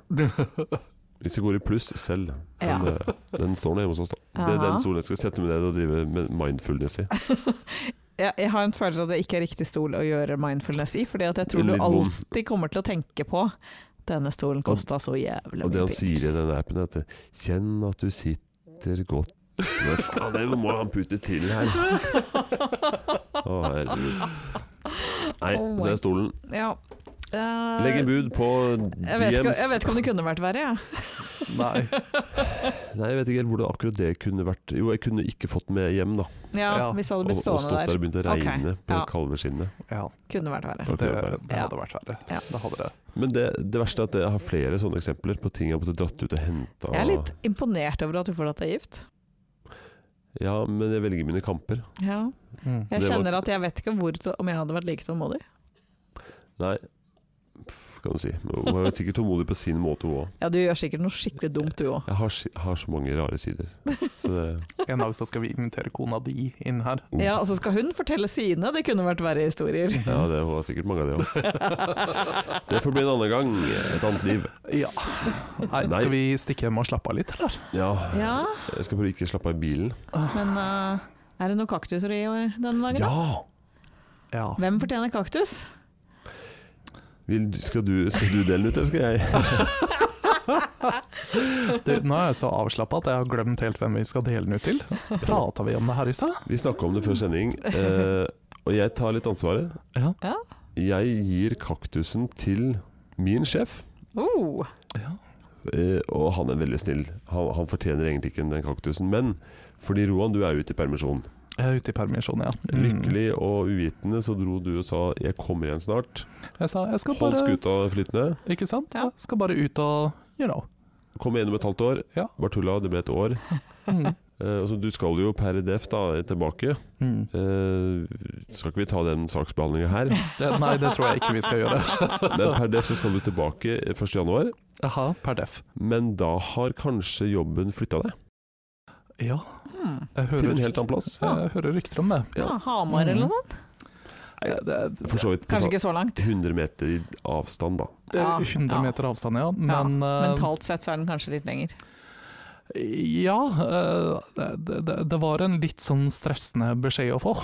A: Hvis det går i pluss, selv.
C: Ja.
A: Men, eh, den står nå hjemme hos oss, da. Det er
C: Aha.
A: den stolen jeg skal sette meg ned og drive med mindfulness i.
C: Jeg, jeg har en følelse av at det ikke er riktig stol å gjøre mindfulness i, fordi at jeg tror
A: En
C: du
A: litt vond.
C: alltid kommer til å tenke på denne stolen kosta så jævlig
A: Og det
C: mye
A: han sier i den appen er at det, Kjenn at du sitter godt
C: [laughs]
A: Men faen, det må han putte til her [laughs] Å herregud Nei,
C: Oh
A: så
C: my-
A: er stolen
C: Ja. Eh,
A: Legg en bud på
C: jeg vet, ikke,
A: DMs
C: jeg vet ikke om det kunne vært verre,
A: [laughs]
C: jeg.
B: [laughs] Nei.
A: Nei, jeg vet ikke helt hvordan akkurat det kunne vært Jo, jeg kunne ikke fått med hjem da
C: Ja.
B: Ja,
C: hvis jeg
A: Og,
C: hadde
A: og
C: blitt
A: stått
C: stående
A: der
C: der.
A: og begynt å
C: Ok,
A: regne på
C: ja.
A: det kalve skinnet
B: Ja,
C: Kunne vært verre.
A: Da
B: det,
A: kunne det være.
B: det hadde vært verre.
C: Ja.
B: Det hadde det.
A: Men det, det verste er at jeg har flere sånne eksempler På ting jeg måtte dratt ut og hentet
C: Jeg er litt imponert over at du fortsatt er gift.
A: Ja, men jeg velger mine kamper
C: Ja.
B: Mm.
C: Jeg
A: Det var-
C: kjenner at jeg vet ikke hvor, om jeg hadde vært like tålmodig.
A: Nei, Pff, kan du si Hun er jo sikkert tålmodig på sin måte hun også
C: Ja, du gjør sikkert noe skikkelig dumt du òg.
A: Jeg har, si- har så mange rare sider. [laughs] Så det,
B: En dag så skal vi invitere kona di inn her.
A: oh.
C: Ja, og så skal hun fortelle sine, det kunne vært verre historier.
A: Ja, det var sikkert mange av de òg. [laughs]
B: Mm.
A: Det får bli en annen gang. Et annet liv.
B: Ja. Nei,
A: Nei.
B: skal vi stikke hjem og slappe av litt, eller?
A: Ja,
C: Ja,
A: jeg skal prøve å ikke slappe av i bilen. [laughs]
C: men eh, er det noen kaktuser i år denne dagen? da?
A: Ja!
B: Ja.
C: Hvem fortjener kaktus?
A: Vil, du- skal, du, skal du dele den ut, eller skal jeg?
B: Du, nå er jeg så avslappa at jeg har glemt helt hvem vi skal dele den ut til. Prata vi om det her i stad?
A: Vi snakka om det før sending, eh, og jeg tar litt ansvaret.
B: Ja.
C: Ja.
A: Jeg gir kaktusen til min sjef,
C: Oh,
B: ja.
A: eh, og han er veldig snill. Han, han fortjener egentlig ikke den kaktusen, men fordi Roan, du er ute i permisjon.
B: Jeg er ute i permisjon, ja. Mm.
A: Lykkelig og uvitende så dro du og sa 'jeg kommer igjen snart'.
B: Jeg sa jeg skal
A: Hold
B: bare
A: skuta flytende.
B: Ikke sant? Jeg skal bare ut og you know.
A: Kom igjen om et halvt år.
B: Ja.
A: Bare tulla, det ble et år.
B: Mm.
A: Eh, altså, du skal jo per def da tilbake.
B: Mm.
A: Eh, skal ikke vi ta den saksbehandlinga her,
B: Det, nei, det tror jeg ikke vi skal
A: [laughs]
B: gjøre.
A: men per def så skal du tilbake 1.1.
B: Aha, per def.
A: Men da har kanskje jobben flytta deg
B: Ja,
C: hmm.
B: jeg
A: til
B: hører,
A: en helt annen plass.
B: jeg hører rykter om det.
C: ja, Hamar eller noe sånt?
B: Nei, det, det,
A: For Mm. så vidt på
C: Kanskje
A: sa-
C: ikke så langt.
A: 100 meter i avstand, da.
B: det
C: Ja,
B: er 100
C: ja.
B: meter avstand, ja.
C: Ja,
B: Men eh,
C: Mentalt sett så er den kanskje litt lenger.
B: Ja, eh, det, det, det var en litt sånn stressende beskjed å få.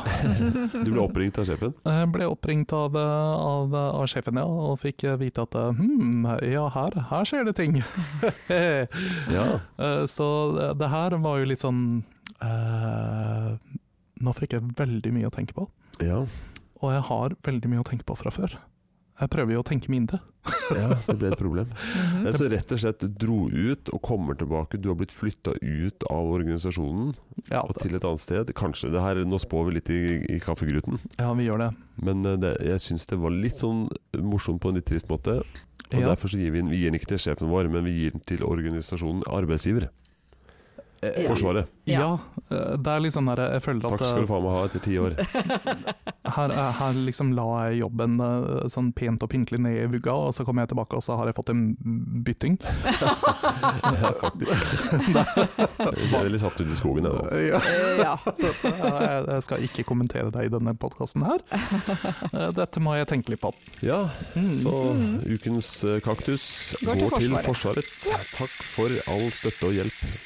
A: Du ble oppringt av sjefen.
B: Jeg ble oppringt av, eh, av, av sjefen, ja, og fikk eh, vite at eh, hm, ja, her, her skjer det ting. [laughs]
A: Ja.
B: Eh, Så det, det her var jo litt sånn eh, Nå fikk jeg veldig mye å tenke på,
A: Ja.
B: og jeg har veldig mye å tenke på fra før. Jeg prøver jo å tenke mindre.
A: ja, det ble et problem.
C: Mhm.
A: Nei, så rett og slett dro ut og kommer tilbake. Du har blitt flytta ut av organisasjonen
B: Ja,
A: og til et annet sted. Kanskje det her, Nå spår vi litt i, i kaffegruten,
B: ja vi gjør det.
A: men eh, det, jeg syns det var litt sånn morsomt på en litt trist måte. Og
B: Ja.
A: Derfor så gir vi, den- vi gir den ikke til sjefen vår, men vi gir den til organisasjonen arbeidsgiver.
B: Eh,
A: Forsvaret.
B: Ja, eh, det er litt sånn der jeg føler at
A: Takk skal du faen meg ha etter ti [laughs] år.
B: her, er- her liksom la jeg jobben eh, sånn pent og pyntelig ned i vugga, og så kommer jeg tilbake og så har jeg fått en bytting.
A: Ja, faktisk. Jeg ser veldig satt ut i skogen jeg nå.
B: Ja,
C: Eh, [laughs] ja.
B: så, eh, jeg jeg skal ikke kommentere det i denne podkasten her. Eh, Dette må jeg tenke litt på.
A: Ja,
B: Mm.
A: så ukens eh, kaktus
C: Går
A: går
C: til
A: til Forsvaret. Takk for all støtte og hjelp.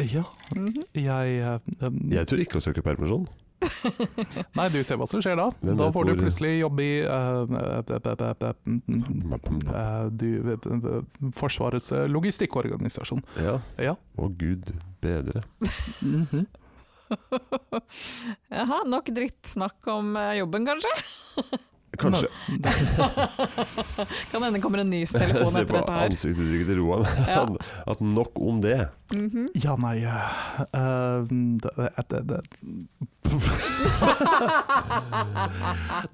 B: Ja,
C: Mhm. [laughs]
B: jeg eh, em,
A: Jeg tør ikke å søke permisjon.
B: Nei, du ser hva som skjer da.
A: Hvem
B: da
A: vet
B: får du
A: hvor-
B: plutselig jobb i eh, eh, du, eh, Forsvarets eh, logistikkorganisasjon.
A: Ja.
B: Ja.
A: Å gud bedre.
C: Jaha, nok drittsnakk om eh, jobben, kanskje?
A: Kanskje
C: Kan hende kommer
A: [laughs]
C: en ny
A: Jeg
C: telefon
A: ser
C: etter
A: på
C: dette her.
A: ansiktsuttrykket til Roan
C: Ja.
A: [laughs] at nok om det.
C: Mhm.
B: Ja, nei eh, eh, det, det, det, [laughs]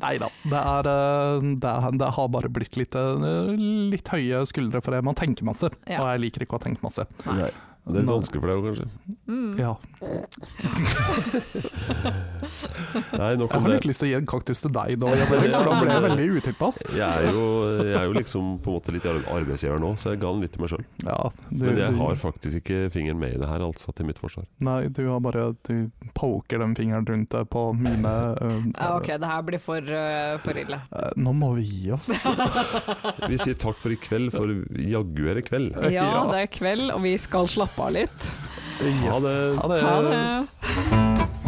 B: Nei da. Det, er, eh, det, er- det har bare blitt litt, eh, litt høye skuldre for det. Man tenker masse,
C: Ja.
B: og jeg liker ikke å tenke masse.
A: Nei. Det er litt
B: Nå-
A: vanskelig for deg òg, kanskje.
C: Mm.
B: Ja.
A: Nei, nok
B: Jeg
A: om
B: har
A: det.
B: litt lyst til å gi en kaktus til deg nå, Jan Erik, for da ble jeg veldig
A: [laughs]
B: utilpass.
A: Jeg er, jo, jeg er jo liksom på en måte litt arbeidsgiver nå, så jeg ga den litt til meg sjøl.
B: Ja, du,
A: Men jeg
B: du-
A: har faktisk ikke fingeren med i det her, altså, til mitt forsvar.
B: Nei, du har bare Du poker den fingeren rundt deg på mine eh,
C: Ja, ok, det her blir for, eh, for
A: [laughs]
C: ille.
B: eh, Nå må vi gi oss.
A: Vi sier takk for i kveld, for jaggu er det kveld.
C: Ja,
B: Ja.
C: det er kveld, og vi skal slappe av litt.
A: Ha det.
B: Ha det.
C: Ha det.